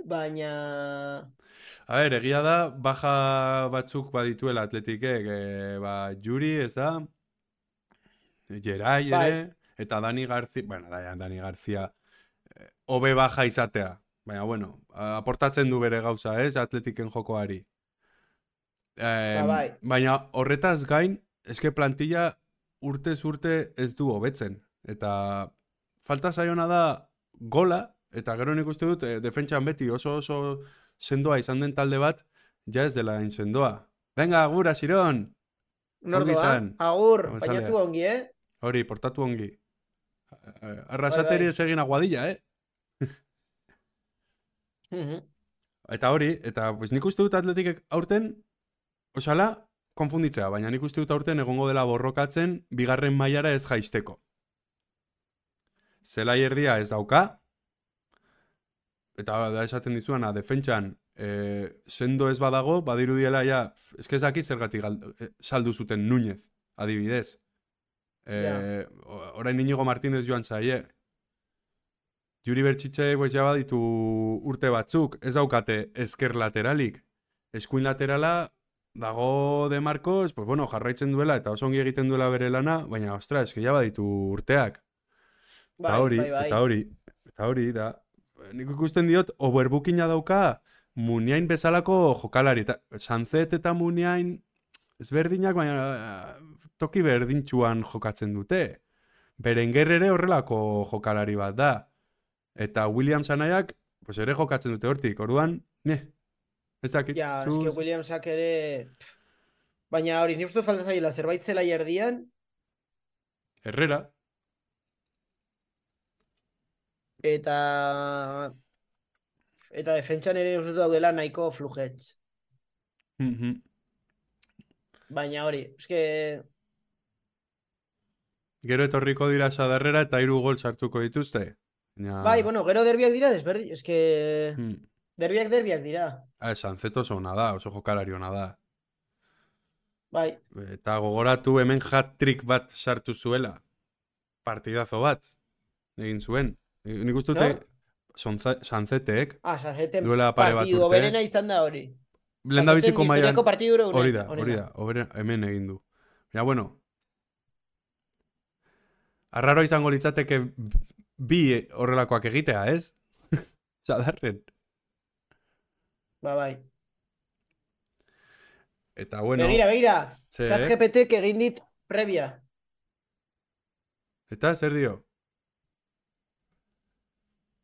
[SPEAKER 1] Baina,
[SPEAKER 2] A ber, egia da, baja batzuk badituela atletikek, eh, ba, Juri, ez da, Jerai ere, eta Dani Garzia, bueno, da, Dani Garzia, eh, hobe baja izatea. Baina, bueno, a- aportatzen du bere gauza, ez, atletiken jokoari. Eh,
[SPEAKER 1] Ba, bai.
[SPEAKER 2] Baina horretaz gain, eske plantilla urtez urte ez du hobetzen. Eta falta zaiona da gola, eta gero nik uste dut, eh, defentsan beti oso oso sendoa izan den talde bat, ja ez dela hain sendoa. Venga, gura, Siron! Ongi
[SPEAKER 1] nordoa,
[SPEAKER 2] izan.
[SPEAKER 1] agur,
[SPEAKER 2] Ongi
[SPEAKER 1] baina
[SPEAKER 2] zalea.
[SPEAKER 1] tu ongi, eh?
[SPEAKER 2] Hori, portatu ongi. Eh, Arrasateri
[SPEAKER 1] bai.
[SPEAKER 2] ez egin aguadilla, eh?
[SPEAKER 1] Mhm.
[SPEAKER 2] Eta hori, eta pues, nik uste dut atletikek aurten, osala, konfunditzea, baina nik uste dut aurten egongo dela borrokatzen bigarren mailara ez jaisteko. zelai erdia ez dauka, eta da esaten dizuana, defentsan, eh, sendo ez badago, badirudiela ja, eske ez dakit zergatik gal- eh, saldu zuten Núñez, adibidez. Eh,
[SPEAKER 1] Ja.
[SPEAKER 2] o- Orain Inigo Martínez joan zaie. Juri Bertxitxe pues, ja baditu urte batzuk, ez daukate ezker lateralik. Eskuin laterala dago de Marcos, pues bueno, jarraitzen duela eta oso ongi egiten duela bere lana, baina ostra, eske ja baditu urteak. Eta
[SPEAKER 1] Bai,
[SPEAKER 2] hori,
[SPEAKER 1] bai, bai.
[SPEAKER 2] eta hori, eta hori, da. Nik ikusten diot, overbookinga dauka muniain bezalako jokalari. Eta, sanzet eta muniain ezberdinak, baina eh, toki berdintxuan jokatzen dute. Berenguer ere horrelako jokalari bat da. Eta William Sanaiak, pues ere jokatzen dute hortik. Orduan, ne, ez dakit.
[SPEAKER 1] Ja,
[SPEAKER 2] zu-
[SPEAKER 1] eske Williamsak ere... pff. Baina hori, ni uste falta zaila, zerbait zela erdian,
[SPEAKER 2] Herrera,
[SPEAKER 1] eta... Eta defentsan ere uste dut daudela nahiko flujets.
[SPEAKER 2] Mhm.
[SPEAKER 1] Baina hori, eske...
[SPEAKER 2] gero etorriko dira sadarrera eta hiru gol sartuko dituzte. Baina-
[SPEAKER 1] Bai, bueno, gero derbiak dira desberdin, eske...
[SPEAKER 2] Hmm.
[SPEAKER 1] Derbiak derbiak dira,
[SPEAKER 2] Ah, Sanzet oso ona da, oso jokalari ona da.
[SPEAKER 1] bai.
[SPEAKER 2] Eta gogoratu hemen hat-trick bat sartu zuela. Partidazo bat. Egin zuen. E, Nik uste dute
[SPEAKER 1] Nor?
[SPEAKER 2] Sonza- Sanzetek
[SPEAKER 1] Ah, Sanjeten
[SPEAKER 2] duela pare bat
[SPEAKER 1] partidu
[SPEAKER 2] urte.
[SPEAKER 1] berena izan da hori.
[SPEAKER 2] Lehendabiziko
[SPEAKER 1] Sanjeten
[SPEAKER 2] mailan
[SPEAKER 1] historiako partidu hurrena,
[SPEAKER 2] hori da, hori da. hobere- hemen egin du. Ja, bueno. Arraro izango litzateke bi horrelakoak egitea, ez? Zadarren.
[SPEAKER 1] Ba, bai.
[SPEAKER 2] Eta bueno,
[SPEAKER 1] Begira, begira,
[SPEAKER 2] ze-
[SPEAKER 1] ChatGPTk egin dit previa.
[SPEAKER 2] eta zer dio?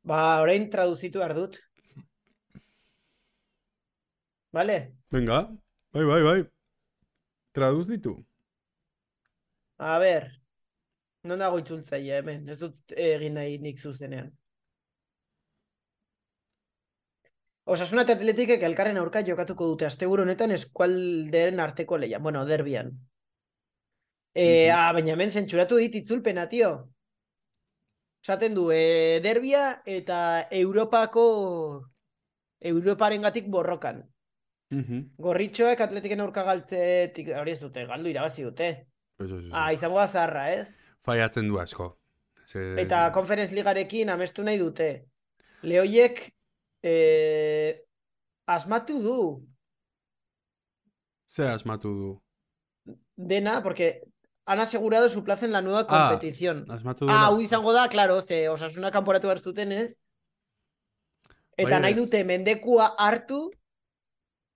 [SPEAKER 1] Ba, orain traduzitu behar dut. Bale?
[SPEAKER 2] Venga, bai, bai, bai. Traduzitu.
[SPEAKER 1] A ber, non dago itzultzailea hemen, ez dut egin nahi nik zuzenean. Osasuna eta Atletikek elkarren aurka jokatuko dute asteburu honetan eskualderen arteko lehian, bueno, derbian. E,
[SPEAKER 2] Mhm.
[SPEAKER 1] ah, baina hemen zentsuratu dit itzulpena, tio. Esaten du, e, derbia eta Europako Europarengatik borrokan.
[SPEAKER 2] Mhm.
[SPEAKER 1] Gorritxoek atletiken aurka galtzetik, hori ez dute, galdu irabazi dute.
[SPEAKER 2] Pues eso, eso.
[SPEAKER 1] Ah, izango da zarra, ez?
[SPEAKER 2] Faiatzen du asko. Ze-
[SPEAKER 1] Eta Conference Ligarekin amestu nahi dute. Lehoiek eh, asmatu du
[SPEAKER 2] Ze asmatu du.
[SPEAKER 1] dena, porque han asegurado su plaza en la nueva
[SPEAKER 2] Ah,
[SPEAKER 1] competición.
[SPEAKER 2] Asmatu
[SPEAKER 1] Ah, hau
[SPEAKER 2] duela-
[SPEAKER 1] izango da, claro, ze osasuna kanporatu behar zuten ez. Eta
[SPEAKER 2] Bai,
[SPEAKER 1] nahi
[SPEAKER 2] ez.
[SPEAKER 1] dute mendekua hartu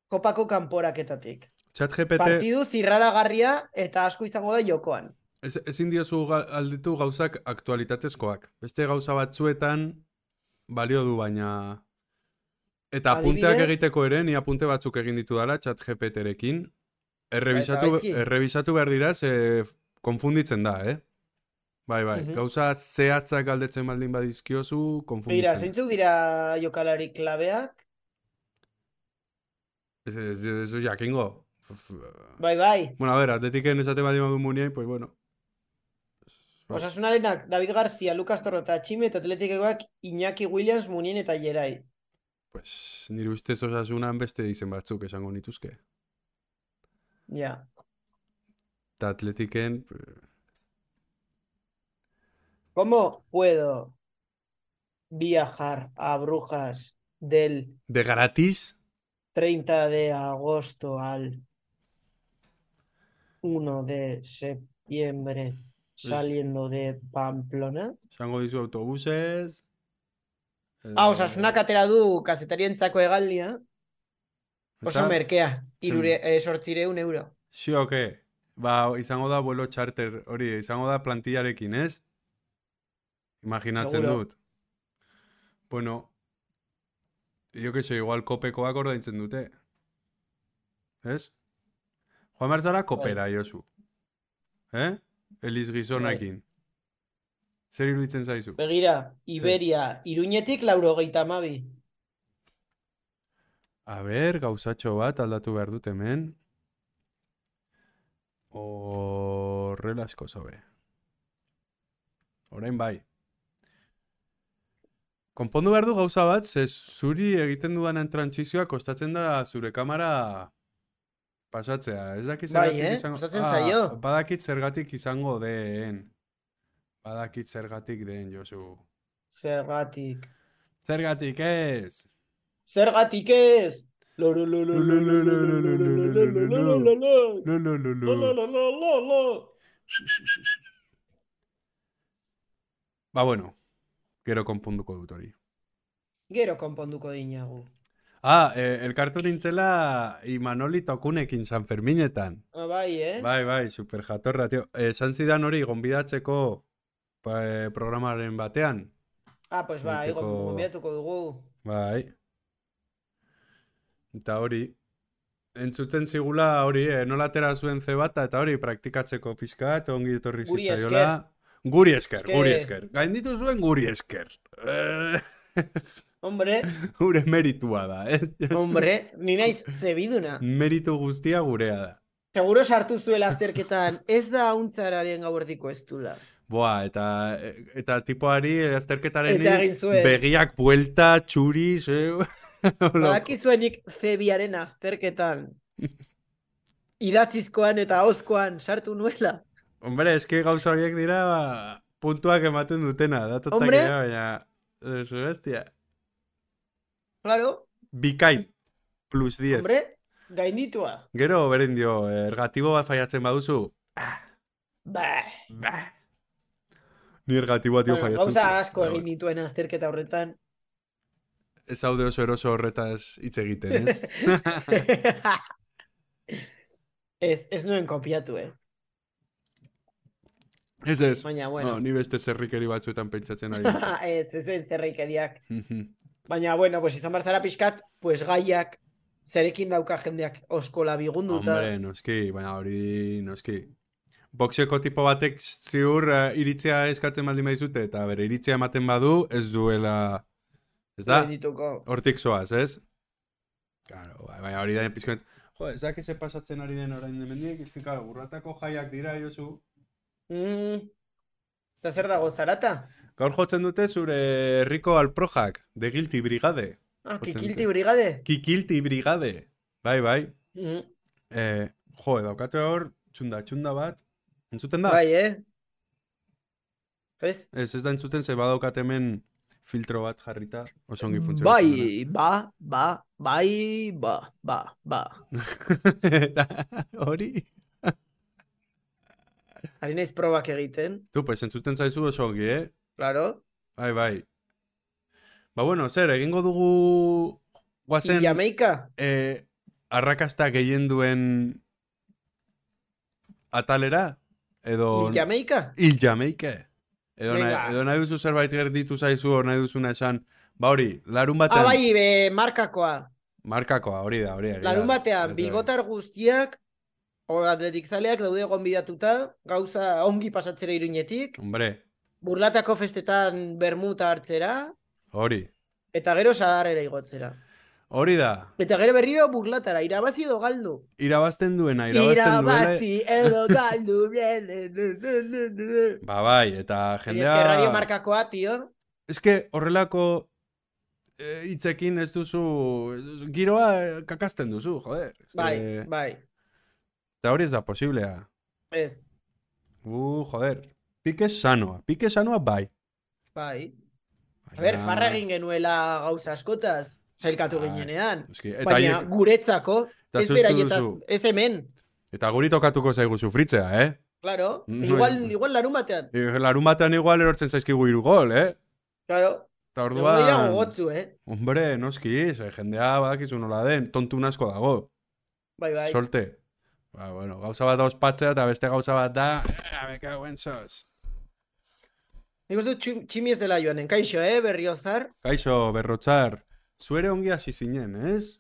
[SPEAKER 1] kopako kanporaketatik.
[SPEAKER 2] Chat GPT,
[SPEAKER 1] Partidu zirraragarria eta asko izango da jokoan.
[SPEAKER 2] ez, ezin diozu ga- alditu gauzak aktualitatezkoak. Beste gauza batzuetan balio du, baina... Eta apunteak
[SPEAKER 1] Adibidez?
[SPEAKER 2] egiteko ere, ni apunte batzuk egin ditu dala chat GPT-rekin. Errebisatu,
[SPEAKER 1] gaizki.
[SPEAKER 2] errebisatu behar dira, ze konfunditzen da, eh? Bai, bai,
[SPEAKER 1] Mhm.
[SPEAKER 2] gauza zehatzak galdetzen baldin badizkiozu,
[SPEAKER 1] Begira,
[SPEAKER 2] konfunditzen. da.
[SPEAKER 1] zeintzuk dira jokalari klabeak?
[SPEAKER 2] Ez, ez, ez, ez jakingo. Uf,
[SPEAKER 1] Bai, bai.
[SPEAKER 2] Bueno, a ver, atletiken esate bat imadu muniain, pues bueno. Bai.
[SPEAKER 1] Osasunarenak David García, Lucas Torro eta Txime eta Atletikekoak Iñaki Williams, Munien eta Jerai.
[SPEAKER 2] Pues nire ustez osasunan beste izen batzuk esango nituzke.
[SPEAKER 1] Ja.
[SPEAKER 2] Eta atletiken... eh,
[SPEAKER 1] ¿Cómo puedo viajar a Brujas del
[SPEAKER 2] De gratis?
[SPEAKER 1] 30 de agosto al 1 de septiembre saliendo de Pamplona?
[SPEAKER 2] Esango dizu autobusez... edo-
[SPEAKER 1] Ah, Osasunak atera du kazetarientzako hegaldia. Oso
[SPEAKER 2] Eta
[SPEAKER 1] merkea. Irure, eh, sortzireun euro.
[SPEAKER 2] Zioke, ba, izango da vuelo charter hori, izango da plantillarekin, ez? Imaginatzen
[SPEAKER 1] Seguro.
[SPEAKER 2] dut. Bueno, jo que sé, igual kopekoak ordaintzen dute. Ez? Joan behar zara kopera, jozu. Eh? Eliz gizonakin. Zer iruditzen zaizu?
[SPEAKER 1] Begira, Iberia, Iruñetik laurogeita hamabi.
[SPEAKER 2] A ber, gauzatxo bat aldatu behar dut hemen. Horrela asko zobe. Orain bai. Konpondu behar du gauza bat, ze zuri egiten dudanen trantsizioa kostatzen da zure kamera pasatzea. Ez dakit
[SPEAKER 1] Bai,
[SPEAKER 2] zergatik
[SPEAKER 1] eh?
[SPEAKER 2] izango... Ah,
[SPEAKER 1] Kostatzen zaio.
[SPEAKER 2] Badakit zergatik izango den. Badakit zergatik den, Josu.
[SPEAKER 1] Zergatik.
[SPEAKER 2] Zergatik ez!
[SPEAKER 1] Zergatik ez!
[SPEAKER 2] Lu, lu, lu, lu. Ba, bueno. Gero konponduko dut hori.
[SPEAKER 1] Gero konponduko dinagu.
[SPEAKER 2] Ah, eh, elkartu nintzela Imanoli Tokunekin Sanferminetan.
[SPEAKER 1] Ah, bai, eh?
[SPEAKER 2] Bai, bai, super jatorra, tio. Esan zidan hori gonbidatzeko pa- eh, programaren batean.
[SPEAKER 1] Ah, pues bai,
[SPEAKER 2] Egiteko-
[SPEAKER 1] gon- gonbidatuko dugu.
[SPEAKER 2] Bai. Eta hori, entzuten zigula hori, eh, nola atera zuen zebata, eta hori praktikatzeko pixka, eta ongi etorri
[SPEAKER 1] Guri
[SPEAKER 2] zitzaiola. Guri esker,
[SPEAKER 1] Esker.
[SPEAKER 2] guri esker. Gainditu zuen guri esker. Eh,
[SPEAKER 1] Hombre,
[SPEAKER 2] gure meritua da, eh?
[SPEAKER 1] hombre, ni naiz zebiduna.
[SPEAKER 2] Meritu guztia gurea da.
[SPEAKER 1] Seguro sartu zuela azterketan, ez da hauntzararen gauerdiko ez dula.
[SPEAKER 2] Boa, eta, eta tipoari azterketaren
[SPEAKER 1] Eta egin zuen.
[SPEAKER 2] begiak buelta, txuriz, eh? hola.
[SPEAKER 1] Badakizuenik zebiaren azterketan. Idatzizkoan eta hozkoan sartu nuela.
[SPEAKER 2] Hombre, eski gauza horiek dira ba, puntuak ematen dutena, datotak
[SPEAKER 1] Hombre.
[SPEAKER 2] dira, baina... Zu bestia.
[SPEAKER 1] Claro,
[SPEAKER 2] Bikain, plus 10.
[SPEAKER 1] hombre, gainditua.
[SPEAKER 2] Gero, beren dio, eh, ergatibo bat faiatzen baduzu.
[SPEAKER 1] Ba,
[SPEAKER 2] Bah. Ni ergatiboa dio
[SPEAKER 1] bueno,
[SPEAKER 2] faiatzen. Ba,
[SPEAKER 1] gauza asko egin dituen azterketa horretan.
[SPEAKER 2] Ez haude oso eroso horretaz hitz egiten, ez?
[SPEAKER 1] ez, ez nuen kopiatu, eh?
[SPEAKER 2] ez ez.
[SPEAKER 1] Baina,
[SPEAKER 2] No,
[SPEAKER 1] bueno.
[SPEAKER 2] ni beste zerrikeri batzuetan pentsatzen ari nintzen.
[SPEAKER 1] ez, ez zen zerreikeriak.
[SPEAKER 2] Mhm.
[SPEAKER 1] Baina, bueno, pues izan barzara pixkat, pues gaiak, zerekin dauka jendeak oskola bigunduta.
[SPEAKER 2] Hombre, noski, baina hori, noski. Boxeko tipo batek ziur eh, iritzia eskatzen baldin baizute, eta bere iritzia ematen badu, ez duela... Ez da?
[SPEAKER 1] gaindituko.
[SPEAKER 2] Hortik zoaz, ez? Claro, bai, baina hori da pizkoet. Jo, ez dakize pasatzen ari den orain demendik, ez que, claro, urratako jaiak dira, Josu.
[SPEAKER 1] Mm. Eta zer dago, zarata?
[SPEAKER 2] Gaur jotzen dute zure herriko alprojak, de Guilty Brigade.
[SPEAKER 1] Ah,
[SPEAKER 2] Jotzen
[SPEAKER 1] kikilti
[SPEAKER 2] dute.
[SPEAKER 1] brigade.
[SPEAKER 2] Kikilti Brigade. Bai, bai.
[SPEAKER 1] Mm.
[SPEAKER 2] Eh, jo, daukatu hor, txunda, txunda bat. Entzuten da?
[SPEAKER 1] Bai, eh? Ez?
[SPEAKER 2] Ez, ez da entzuten, ze badaukat hemen filtro bat jarrita, oso ongi funtzionatzen
[SPEAKER 1] Bai,
[SPEAKER 2] dena.
[SPEAKER 1] ba, ba, bai, ba, ba, ba.
[SPEAKER 2] Eta hori?
[SPEAKER 1] Ari naiz probak egiten,
[SPEAKER 2] Tu, pues entzuten zaizu oso ongi, eh?
[SPEAKER 1] claro.
[SPEAKER 2] Bai, bai. Ba, bueno, zer, egingo dugu guazen
[SPEAKER 1] Y Jamaica,
[SPEAKER 2] eh, arrakasta gehien duen atalera? Edo...
[SPEAKER 1] y Jamaica.
[SPEAKER 2] Hil Jamaike. Edo,
[SPEAKER 1] Venga.
[SPEAKER 2] nahi, edo nahi duzu zerbait gerditu zaizu, hor nahi duzuna esan, ba hori, larun batean,
[SPEAKER 1] Ah, bai, be, markakoa.
[SPEAKER 2] markakoa, hori da, hori da. egia
[SPEAKER 1] Larun
[SPEAKER 2] da.
[SPEAKER 1] batean,
[SPEAKER 2] Eta-
[SPEAKER 1] bilbotar guztiak, o atletik zaleak daude gonbidatuta, gauza ongi pasatzera iruñetik,
[SPEAKER 2] Hombre,
[SPEAKER 1] burlatako festetan bermuta hartzera,
[SPEAKER 2] hori.
[SPEAKER 1] eta gero sadarrera igotzera.
[SPEAKER 2] Hori da,
[SPEAKER 1] Eta gero berriro burlatara, irabazi edo galdu.
[SPEAKER 2] irabazten duena, irabazten duela.
[SPEAKER 1] Irabazi edo galdu. ble, ble, ble, ble, ble, ble.
[SPEAKER 2] Ba bai, eta
[SPEAKER 1] Baina Ez que radio
[SPEAKER 2] jendea...
[SPEAKER 1] markakoa, tio.
[SPEAKER 2] Eske horrelako eh, hitzekin ez duzu, ez duzu- giroa eh, kakasten duzu, joder. Eske-
[SPEAKER 1] Bai, bai.
[SPEAKER 2] Eta hori ez da posiblea.
[SPEAKER 1] Ez,
[SPEAKER 2] Uh, joder. Pique sanoa, pique sanoa bai.
[SPEAKER 1] bai. A ber,
[SPEAKER 2] Baina-
[SPEAKER 1] farra egin genuela gauza askotaz, zailkatu
[SPEAKER 2] Bai.
[SPEAKER 1] ginenean.
[SPEAKER 2] Eske, eta,
[SPEAKER 1] Baina
[SPEAKER 2] haiek-
[SPEAKER 1] guretzako,
[SPEAKER 2] eta
[SPEAKER 1] ez
[SPEAKER 2] zeustu
[SPEAKER 1] beraietaz,
[SPEAKER 2] duzu.
[SPEAKER 1] ez hemen,
[SPEAKER 2] Eta guri tokatuko zaigu sufritzea, eh?
[SPEAKER 1] claro.
[SPEAKER 2] Mm,
[SPEAKER 1] Igual,
[SPEAKER 2] bai.
[SPEAKER 1] igual larun batean,
[SPEAKER 2] E, Larun batean igual erortzen zaizkigu hiru gol, eh?
[SPEAKER 1] claro.
[SPEAKER 2] Eta
[SPEAKER 1] Egongo dira
[SPEAKER 2] orduan...
[SPEAKER 1] gogotsu, eh?
[SPEAKER 2] Hombre, noski, ze jendea badakizu nola den, tontun asko dago,
[SPEAKER 1] Bai, bai.
[SPEAKER 2] solte. Ba, bueno, gauza bat da ospatzea eta beste gauza bat da... "Ah, Me cago en sos.
[SPEAKER 1] Nik uste dut txim- tximi ez dela joanen. Kaixo, eh, berriozar.
[SPEAKER 2] Kaixo, berrotzar, zuere ongi hasi zinen, ez?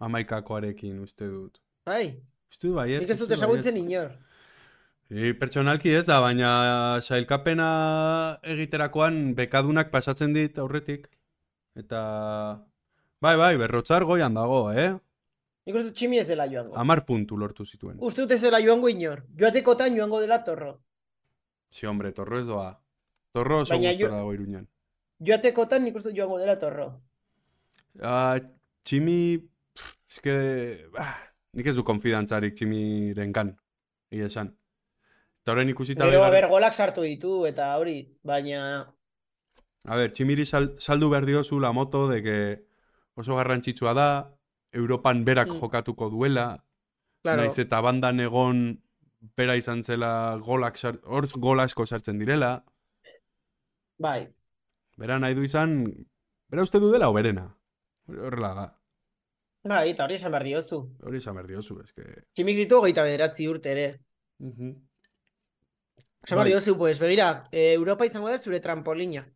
[SPEAKER 2] Amaikakoarekin uste dut.
[SPEAKER 1] Bai,
[SPEAKER 2] Uste dut baiet.
[SPEAKER 1] nik ez dut ezagutzen inor.
[SPEAKER 2] I, pertsonalki ez da, baina sailkapena egiterakoan bekadunak pasatzen dit aurretik. Eta... Bai, bai, berrotzar goian dago, eh?
[SPEAKER 1] Nik uste dut tximi ez dela joango.
[SPEAKER 2] Amar puntu lortu zituen.
[SPEAKER 1] Uste dut ez dela joango inor. Joatekotan joango dela torro.
[SPEAKER 2] Si, hombre, torro ez doa. Torro oso
[SPEAKER 1] Baina jo-
[SPEAKER 2] gustora dago iruñan.
[SPEAKER 1] Joatekotan nik uste dut joango dela torro.
[SPEAKER 2] Ah, Tximi, pff, eske, bah, nik ez du konfidantzarik Tximiren kan, egia esan. Eta horren ikusita
[SPEAKER 1] Gero, a
[SPEAKER 2] bigarren-
[SPEAKER 1] ber, golak sartu ditu eta hori, baina...
[SPEAKER 2] A ber, Tximiri sal- saldu behar diozu la moto de que oso garrantzitsua da, Europan berak
[SPEAKER 1] Mm.
[SPEAKER 2] jokatuko duela,
[SPEAKER 1] Claro,
[SPEAKER 2] naiz eta bandan egon bera izan zela golak sar- hor gol asko sartzen direla,
[SPEAKER 1] bai.
[SPEAKER 2] bera nahi du izan, bera uste du dela oberena. Horrela da,
[SPEAKER 1] Bai, eta hori esan behar diozu.
[SPEAKER 2] hori izan behar diozu, eske.
[SPEAKER 1] Tximik ditu hogeita bederatzi urte ere. Esan behar
[SPEAKER 2] Bai.
[SPEAKER 1] diozu, pues, begira, eh, Europa izango da zure trampolina.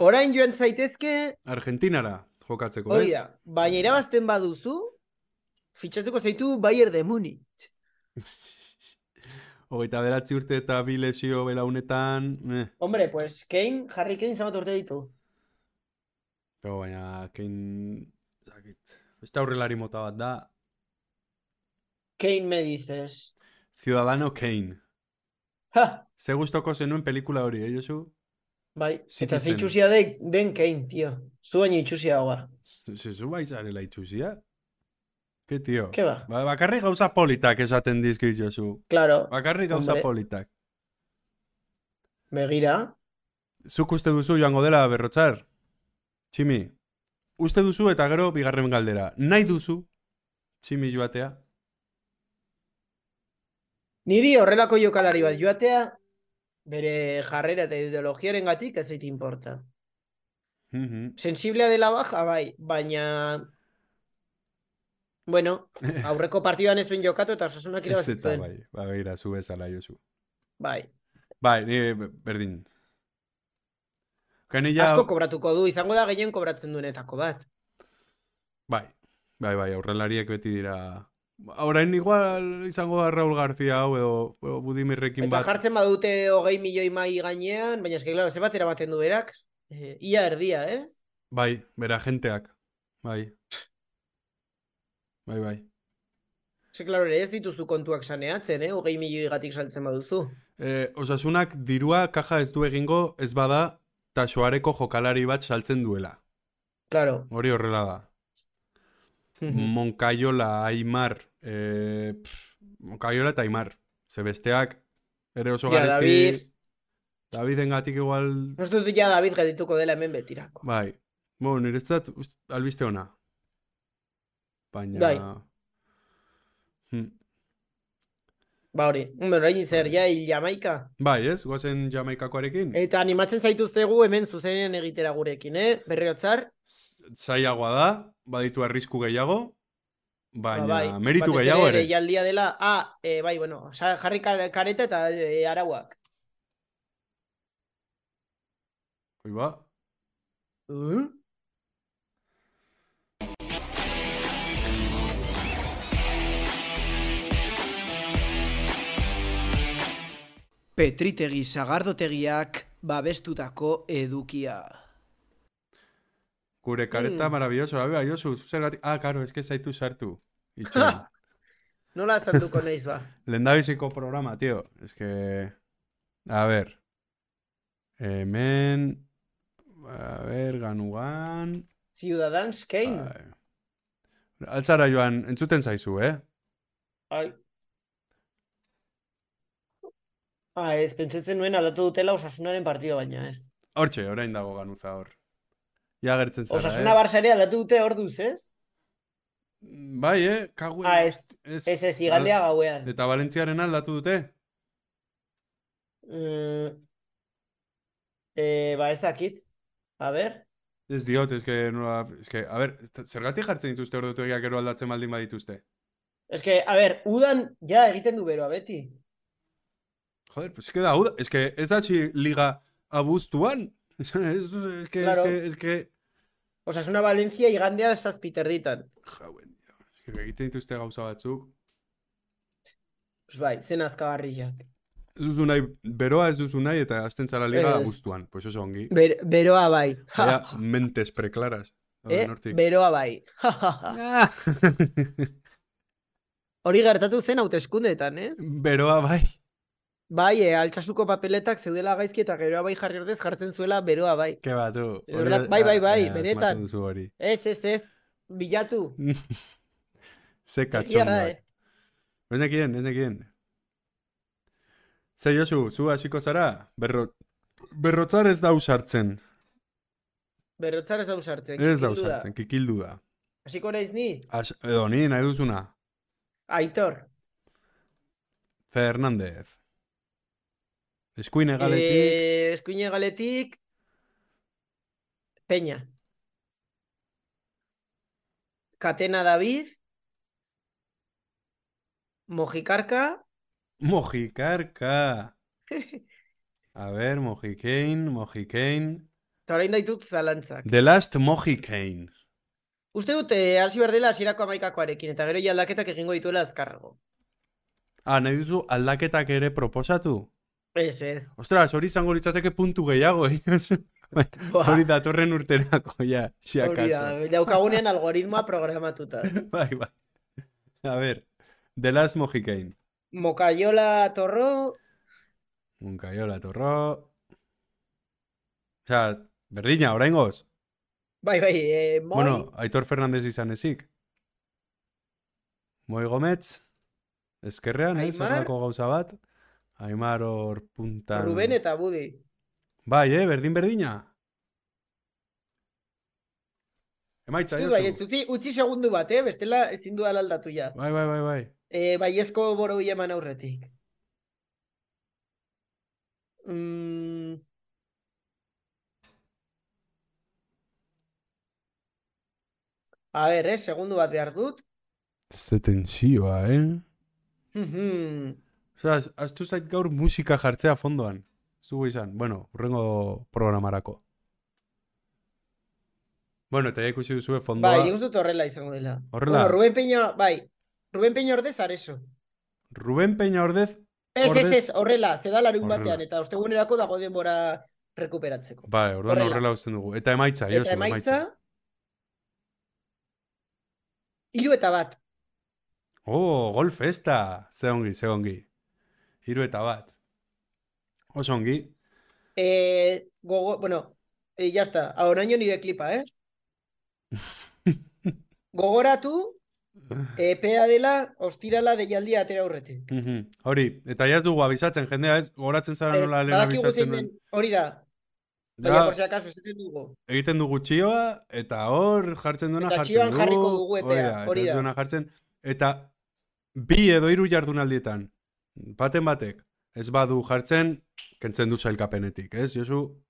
[SPEAKER 1] Orain joan zaitezke,
[SPEAKER 2] Argentinara jokatzeko,
[SPEAKER 1] hori
[SPEAKER 2] ez?
[SPEAKER 1] da, baina irabazten baduzu, fitxatuko zaitu Bayern de Munich.
[SPEAKER 2] Hogeita beratzi urte eta bi lesio belaunetan, eh.
[SPEAKER 1] Hombre, pues, Kane, Harry Kane zenbat urte ditu.
[SPEAKER 2] Pero baina, kein... Zakit. Beste aurrelari mota bat da,
[SPEAKER 1] Kane me dices.
[SPEAKER 2] Ciudadano Kane.
[SPEAKER 1] Ha,
[SPEAKER 2] Ze gustoko zenuen pelikula hori, eh, Josu?
[SPEAKER 1] bai, eta
[SPEAKER 2] Citizen.
[SPEAKER 1] ze itxusia de, den Kane, tio. Zu baino itxusia hoa.
[SPEAKER 2] Zezu bai zarela itxusia? Ke tio?
[SPEAKER 1] Ke ba?
[SPEAKER 2] Ba, bakarrik gauza politak esaten dizki, Josu.
[SPEAKER 1] Claro,
[SPEAKER 2] Bakarrik gauza
[SPEAKER 1] Hombre.
[SPEAKER 2] politak.
[SPEAKER 1] begira.
[SPEAKER 2] Zuk uste duzu joango dela berrotzar? Tximi, uste duzu eta gero bigarren galdera. Nahi duzu? Tximi joatea?
[SPEAKER 1] Niri horrelako jokalari bat joatea, bere jarrera eta ideologiaren gatik ez zait importa.
[SPEAKER 2] Mhm.
[SPEAKER 1] sensiblea dela baja, bai, baina... Bueno, aurreko partidan ez zuen jokatu eta osasunak
[SPEAKER 2] Ez
[SPEAKER 1] irabazi
[SPEAKER 2] eta
[SPEAKER 1] zuen.
[SPEAKER 2] bai, ba, begira, zu bezala, Josu.
[SPEAKER 1] Bai.
[SPEAKER 2] Bai, ni berdin. Kanila...
[SPEAKER 1] Asko kobratuko du, izango da gehien kobratzen duenetako bat.
[SPEAKER 2] Bai, bai, bai, aurrelariek beti dira... Orain igual izango da Raúl García hau edo, edo Budimirrekin
[SPEAKER 1] Eta
[SPEAKER 2] bat.
[SPEAKER 1] jartzen badute hogei milioi mai gainean, baina eske, claro, ze bat eramaten du berak. Eh, ia erdia, ez?
[SPEAKER 2] Bai, bera jenteak. Bai. Bai, bai.
[SPEAKER 1] Ze, claro, ere ez dituzu kontuak saneatzen, eh? Hogei milioi gatik saltzen baduzu.
[SPEAKER 2] E, osasunak dirua kaja ez du egingo ez bada tasoareko jokalari bat saltzen duela.
[SPEAKER 1] Claro.
[SPEAKER 2] Hori horrela da.
[SPEAKER 1] Mhm.
[SPEAKER 2] Moncayola, Aimar. E, pff, Moncayola eta Aimar. Ze besteak ere oso
[SPEAKER 1] ja,
[SPEAKER 2] garesti...
[SPEAKER 1] David,
[SPEAKER 2] Davidengatik igual...
[SPEAKER 1] no dut ja David gedituko dela hemen betirako.
[SPEAKER 2] Bai. Bo, niretzat ust- albiste ona. Baina...
[SPEAKER 1] Bai.
[SPEAKER 2] Hm.
[SPEAKER 1] Ba hori, Hombre, orain zer, ja, hil Jamaika.
[SPEAKER 2] Bai, ez? Goazen Jamaikakoarekin.
[SPEAKER 1] Eta animatzen zaituztegu hemen zuzenean egitera gurekin, eh? Berriotzar,
[SPEAKER 2] Z- Zailagoa da, baditu arrisku gehiago, baina
[SPEAKER 1] bai,
[SPEAKER 2] meritu
[SPEAKER 1] batez
[SPEAKER 2] gehiago ere.
[SPEAKER 1] Deialdia dela, ah, eh, bai, bueno, sa- jarri kar- kareta eta eh, arauak.
[SPEAKER 2] Oi ba.
[SPEAKER 1] Uh? Petritegi sagardotegiak babestutako edukia.
[SPEAKER 2] Gure kareta
[SPEAKER 1] Mm.
[SPEAKER 2] maravilloso, abe, aiozu, zuzergatik. Ah, karo, eske zaitu sartu. Itxoin.
[SPEAKER 1] Nola azalduko naiz ba?
[SPEAKER 2] Lehendabiziko programa, tío. Es que... A ver. Hemen... A ver, ganugan...
[SPEAKER 1] Ciudadans Kane?
[SPEAKER 2] Bai. Altzara joan, entzuten zaizu, eh?
[SPEAKER 1] Ai. Ah, ez, pentsatzen nuen aldatu dutela osasunaren partida baina, ez.
[SPEAKER 2] Hortxe, orain dago ganuza hor. Ja gertzen zara,
[SPEAKER 1] Osasuna ba-
[SPEAKER 2] eh?
[SPEAKER 1] Barça ere aldatu dute orduz, ez?
[SPEAKER 2] Bai, eh? Kagu...
[SPEAKER 1] Ah, ez, ez, ez, igandea gauean.
[SPEAKER 2] Eta Valentziaren aldatu dute?
[SPEAKER 1] Mm, eh, ba, ez dakit. A ber,
[SPEAKER 2] Ez diot, ez que, nola, ez que, a ber, ez- zergatik jartzen dituzte ordutegiak gero aldatzen baldin badituzte?
[SPEAKER 1] es que, a ber, udan ja egiten du beroa beti.
[SPEAKER 2] Joder, pues es que da, uda- es que ez da txi liga abuztuan. Ez, ez, ez que,
[SPEAKER 1] Claro.
[SPEAKER 2] ez que, ez que,
[SPEAKER 1] Osasuna Valencia igandea zazpiterditan.
[SPEAKER 2] jauen, dio, ez que egiten dituzte gauza batzuk.
[SPEAKER 1] Pues bai, zen azkagarriak.
[SPEAKER 2] Ez duzu nahi, beroa ez duzu nahi eta hasten zara liga
[SPEAKER 1] Ez.
[SPEAKER 2] abuztuan. Pues oso ongi.
[SPEAKER 1] beroa bai.
[SPEAKER 2] Baina mentes preclaras.
[SPEAKER 1] Eh,
[SPEAKER 2] dauden hortik.
[SPEAKER 1] beroa bai.
[SPEAKER 2] Ah!
[SPEAKER 1] Hori gertatu zen hauteskundeetan, ez?
[SPEAKER 2] Beroa bai.
[SPEAKER 1] Bai, e, altxasuko papeletak zeudela gaizki eta geroa bai jarri ordez jartzen zuela beroa bai.
[SPEAKER 2] Ke ba, tu.
[SPEAKER 1] Eh, verdad, bai, bai, bai,
[SPEAKER 2] asmatu
[SPEAKER 1] benetan.
[SPEAKER 2] duzu hori.
[SPEAKER 1] Ez, ez, ez, bilatu.
[SPEAKER 2] Ze
[SPEAKER 1] Egia da,
[SPEAKER 2] katxondoak.
[SPEAKER 1] eh.
[SPEAKER 2] Ez nekien, ez nekien. Ze Josu, zu hasiko zara, berro... Berrotzar ez da usartzen.
[SPEAKER 1] Berrotzar ez da usartzen.
[SPEAKER 2] Ez da
[SPEAKER 1] kikildu
[SPEAKER 2] usartzen, kikildu da.
[SPEAKER 1] Hasiko naiz ni,
[SPEAKER 2] As, edo, ni nahi duzuna.
[SPEAKER 1] aitor.
[SPEAKER 2] Fernandez. Eskuine galetik.
[SPEAKER 1] Eh, eskuine galetik, Peña. Katena David, Mojikarka,
[SPEAKER 2] Mojikarka. A ber, mojikein, mojikein.
[SPEAKER 1] eta orain daitut zalantzak.
[SPEAKER 2] The Last Mojikein.
[SPEAKER 1] Uste dut, eh, hasi behar dela hasierako amaikakoarekin, eta gero ja aldaketak egingo dituela azkarrago.
[SPEAKER 2] Ah, nahi duzu aldaketak ere proposatu?
[SPEAKER 1] Ez, ez.
[SPEAKER 2] Ostras, hori izango litzateke puntu gehiago, eh?
[SPEAKER 1] Buah,
[SPEAKER 2] Hori datorren urterako, ja, si
[SPEAKER 1] Ah. hori da,
[SPEAKER 2] acaso.
[SPEAKER 1] daukagunean algoritmoa programatuta.
[SPEAKER 2] Bai, bai. A ver, The Last Mojikein.
[SPEAKER 1] Mokayola Torro,
[SPEAKER 2] Munkaiola torro. Osea, berdina, oraingoz.
[SPEAKER 1] bai, bai, eh, Moi,
[SPEAKER 2] Bueno, Aitor Fernandez izan ezik. Moi Gomez, ezkerrean, ez,
[SPEAKER 1] Aimar.
[SPEAKER 2] horrelako gauza bat. Aimar hor puntan.
[SPEAKER 1] Rubén eta Budi.
[SPEAKER 2] Bai, eh, berdin berdina. Emaitza,
[SPEAKER 1] Zu
[SPEAKER 2] Josu.
[SPEAKER 1] baietz, Bai, utzi, utzi segundu bat, eh? bestela ezin du aldatu ja.
[SPEAKER 2] Bai, bai, bai, bai.
[SPEAKER 1] Eh, baiezko boro eman aurretik. Mm, A ber, eh, segundu bat behar dut.
[SPEAKER 2] Ze tensioa, eh?
[SPEAKER 1] Mhm.
[SPEAKER 2] Osea, az- aztu zait gaur musika jartzea fondoan. Ez dugu izan, bueno, urrengo programarako. Bueno, eta ja ikusi duzue fondoa.
[SPEAKER 1] Bai, nik uste dut horrela izango dela.
[SPEAKER 2] Horrela.
[SPEAKER 1] Bueno, Rubén Peña, bai. Rubén Peña ordez areso.
[SPEAKER 2] Rubén Peña Ordez,
[SPEAKER 1] Ez, ez,
[SPEAKER 2] Ordez-
[SPEAKER 1] ez, horrela, zeda larun batean,
[SPEAKER 2] Horrela.
[SPEAKER 1] eta ostegunerako dago denbora rekuperatzeko.
[SPEAKER 2] bai, orduan
[SPEAKER 1] Horrela.
[SPEAKER 2] horrela uzten dugu. Eta Bai, emaitza, Josu,
[SPEAKER 1] Eta emaitza, hiru eta bat.
[SPEAKER 2] Oh, gol festa! Ze ongi, ze ongi. Hiru eta bat. Oso ongi.
[SPEAKER 1] Eh, gogo, bueno, eh, ya está. Ahoraino nire klipa, eh? Gogoratu, epea dela, ostirala deialdia atera aurretik.
[SPEAKER 2] Mhm. Hori, eta ja ez dugu abizatzen, jendea ez, goratzen zara
[SPEAKER 1] Ez,
[SPEAKER 2] nola lehen
[SPEAKER 1] badakigu
[SPEAKER 2] abizatzen
[SPEAKER 1] zein
[SPEAKER 2] duen.
[SPEAKER 1] den, hori da. Baina, por si acaso, esaten dugu.
[SPEAKER 2] egiten dugu txioa, eta hor jartzen duena
[SPEAKER 1] Eta
[SPEAKER 2] jartzen
[SPEAKER 1] txioan
[SPEAKER 2] du.
[SPEAKER 1] jarriko dugu epea, hori
[SPEAKER 2] eta ez
[SPEAKER 1] da.
[SPEAKER 2] duena jartzen. Eta bi edo hiru jardunaldietan, baten batek, ez badu jartzen, kentzen du sailkapenetik, ez? Josu,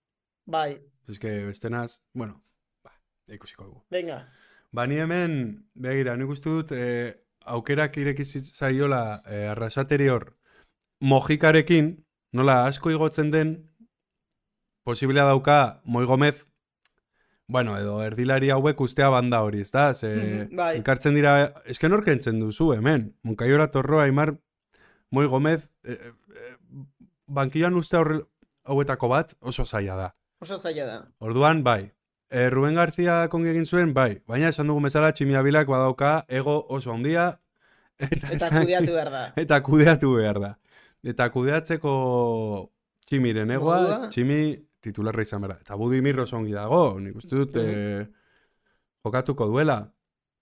[SPEAKER 1] Bai,
[SPEAKER 2] eske bestenaz, bueno, ba, ikusiko dugu.
[SPEAKER 1] venga.
[SPEAKER 2] Ba, ni hemen, begira, nik uste dut, eh, aukerak ireki zaiola eh, arrasateri hor, mojikarekin, nola asko igotzen den, posibilea dauka, moi gomez, bueno, edo erdilari hauek ustea banda hori, ez da? Ze,
[SPEAKER 1] Mhm, bai.
[SPEAKER 2] Elkartzen dira, esken hor kentzen duzu, hemen, Monkaiora Torroa, Aimar, moi gomez, eh, eh, bankioan ustea horrel, hauetako bat oso zaila da.
[SPEAKER 1] Oso zaila da.
[SPEAKER 2] Orduan, bai. E, Ruben Garzia kongi egin zuen, bai. Baina esan dugu bezala tximiabilak badauka ego oso handia eta,
[SPEAKER 1] Eta
[SPEAKER 2] esan-
[SPEAKER 1] kudeatu behar da.
[SPEAKER 2] eta kudeatu behar da. Eta kudeatzeko tximiren egoa,
[SPEAKER 1] Modua?
[SPEAKER 2] tximi titularra izan behar da. Eta budimir oso ongi dago, nik uste dut
[SPEAKER 1] Mhm.
[SPEAKER 2] eh, jokatuko duela.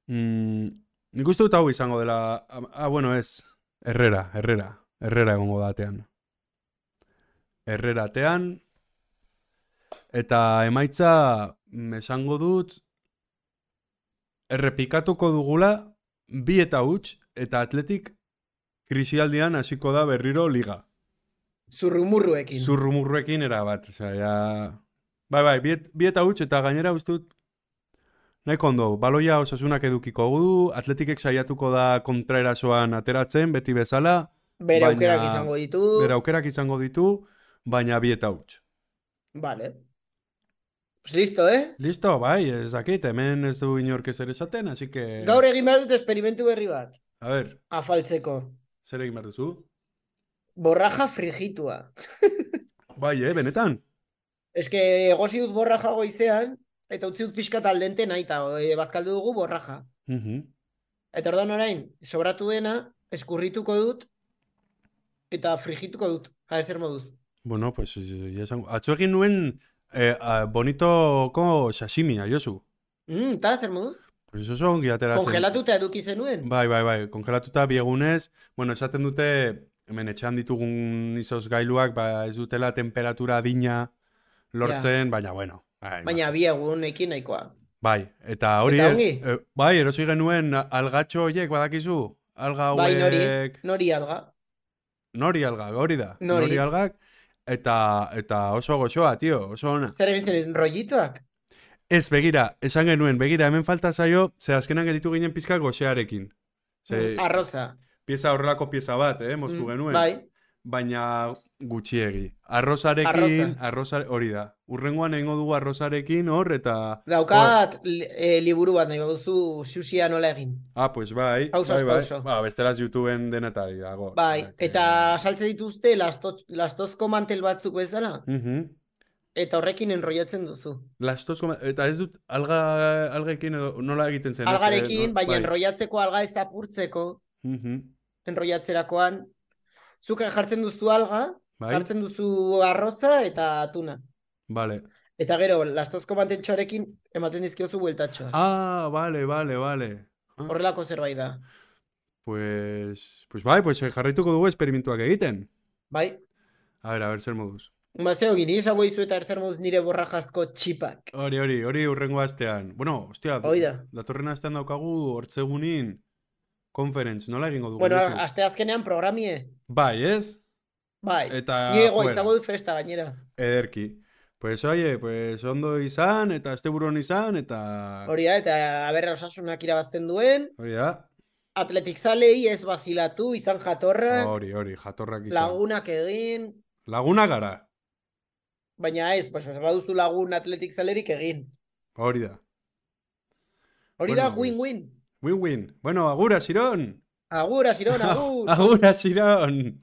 [SPEAKER 2] Mm, nik uste dut hau izango dela, ah, ah, bueno ez, herrera, herrera, herrera egongo datean. Herreratean, eta emaitza mm, esango dut, errepikatuko dugula, bi eta huts, eta atletik krisialdian hasiko da berriro liga.
[SPEAKER 1] Zurrumurruekin.
[SPEAKER 2] Zurrumurruekin erabat, osea, ja... Bai, bai, biet, bieta huts eta gainera uste dut nahiko ondo, baloia osasunak edukiko du, atletikek saiatuko da kontraerasoan ateratzen, beti bezala,
[SPEAKER 1] Bere
[SPEAKER 2] baina-
[SPEAKER 1] aukerak izango ditu.
[SPEAKER 2] bere aukerak izango ditu, baina bieta huts.
[SPEAKER 1] Vale. Pues listo, eh?
[SPEAKER 2] Listo, bai, ez dakit, hemen ez du inork ez ere esaten, así que...
[SPEAKER 1] Gaur egin behar dut esperimentu berri bat.
[SPEAKER 2] A ber,
[SPEAKER 1] Afaltzeko.
[SPEAKER 2] zer egin behar duzu?
[SPEAKER 1] Borraja frijitua.
[SPEAKER 2] Bai, eh, benetan?
[SPEAKER 1] Eske egosi dut borraja goizean, eta utzi dut pixka taldente nahi eta e, bazkaldu dugu borraja.
[SPEAKER 2] Mhm.
[SPEAKER 1] Eta orduan orain, sobratu dena, eskurrituko dut, eta frijituko dut. Ja, zer moduz.
[SPEAKER 2] Bueno, pues, eh, ya esango. Atzo egin nuen eh, a- bonitoko sashimia, Josu.
[SPEAKER 1] Mm, eta zer moduz?
[SPEAKER 2] Pues oso ongi ateratzen.
[SPEAKER 1] Kongelatuta eduki zenuen.
[SPEAKER 2] Bai, bai, bai, kongelatuta biegunez, bueno, esaten dute, hemen etxean ditugun izozgailuak, ba, ez dutela temperatura adina lortzen, baina, bueno. Bai,
[SPEAKER 1] Baina bi egunekin nahikoa.
[SPEAKER 2] Bai, eta hori...
[SPEAKER 1] Eta ongi?
[SPEAKER 2] eh, bai, erosi genuen algatxo horiek, badakizu? Alga
[SPEAKER 1] Bai, nori.
[SPEAKER 2] hauek...
[SPEAKER 1] Nori alga.
[SPEAKER 2] Nori alga, hori da.
[SPEAKER 1] Nori.
[SPEAKER 2] algak. Eta, eta oso goxoa, tio, oso ona.
[SPEAKER 1] Zer egin zenuen, rollitoak?
[SPEAKER 2] Ez, begira, esan genuen, begira, hemen falta zaio, ze azkenan gelditu ginen pizka goxearekin. Ze,
[SPEAKER 1] Mm, Arroza.
[SPEAKER 2] pieza horrelako pieza bat, eh, moztu
[SPEAKER 1] Mm,
[SPEAKER 2] genuen.
[SPEAKER 1] Bai.
[SPEAKER 2] Baina gutxiegi. Arrozarekin, arroza, hori da. Urrengoan egingo dugu arrozarekin hor, eta...
[SPEAKER 1] Daukat li- eh, liburu bat nahi baduzu susia nola egin.
[SPEAKER 2] Ah, pues bai,
[SPEAKER 1] Pausaz
[SPEAKER 2] bai, bai.
[SPEAKER 1] pauso.
[SPEAKER 2] Ba, besteraz YouTubeen denetari dago.
[SPEAKER 1] Bai,
[SPEAKER 2] osea que-
[SPEAKER 1] eta saltze dituzte lasto, lastozko mantel batzuk bezala,
[SPEAKER 2] Mhm.
[SPEAKER 1] eta horrekin enrollatzen duzu.
[SPEAKER 2] Lastoz koma- eta ez dut alga, algekin edo nola egiten zen. ez, eh,
[SPEAKER 1] Algarekin,
[SPEAKER 2] no-
[SPEAKER 1] baina enrollatzeko alga ez apurtzeko,
[SPEAKER 2] Mhm,
[SPEAKER 1] enrollatzerakoan. Zuk jartzen duzu alga,
[SPEAKER 2] Bai,
[SPEAKER 1] jartzen duzu arroza eta atuna.
[SPEAKER 2] vale.
[SPEAKER 1] Eta gero, lastozko manteltxoarekin ematen dizkiozu bueltatxoa.
[SPEAKER 2] Ah, vale, vale, vale. Ah,
[SPEAKER 1] Horrelako zerbait da.
[SPEAKER 2] pues, pues bai, pues eh, jarraituko dugu esperimentuak egiten.
[SPEAKER 1] Bai?
[SPEAKER 2] A ber, a ber, zer moduz.
[SPEAKER 1] Bazeo gini, esango izu eta erzer moduz nire borrajazko txipak.
[SPEAKER 2] Hori, hori, hori urrengo astean. Bueno, hostia,
[SPEAKER 1] Hoi da.
[SPEAKER 2] datorren astean daukagu hortzegunin konferentz, nola egingo dugu?
[SPEAKER 1] Bueno,
[SPEAKER 2] Josu?
[SPEAKER 1] aste azkenean programie.
[SPEAKER 2] Bai, ez?
[SPEAKER 1] Bai.
[SPEAKER 2] Eta
[SPEAKER 1] Ni ego
[SPEAKER 2] fuera.
[SPEAKER 1] izango dut festa gainera.
[SPEAKER 2] Ederki. Pues oye, pues ondo izan, eta este buron izan, eta...
[SPEAKER 1] Hori da, eta aberra osasunak irabazten duen.
[SPEAKER 2] Hori da.
[SPEAKER 1] Atletik zalei ez bazilatu, izan jatorrak,
[SPEAKER 2] Hori, hori, jatorrak izan.
[SPEAKER 1] lagunak egin.
[SPEAKER 2] Laguna gara.
[SPEAKER 1] Baina ez, pues, ez baduzu lagun atletik zalerik egin.
[SPEAKER 2] Hori da.
[SPEAKER 1] Hori da,
[SPEAKER 2] Bueno, pues.
[SPEAKER 1] win-win.
[SPEAKER 2] Win-win. Bueno, agura, Siron.
[SPEAKER 1] Agur, Asiron, agur!
[SPEAKER 2] Agura, Siron.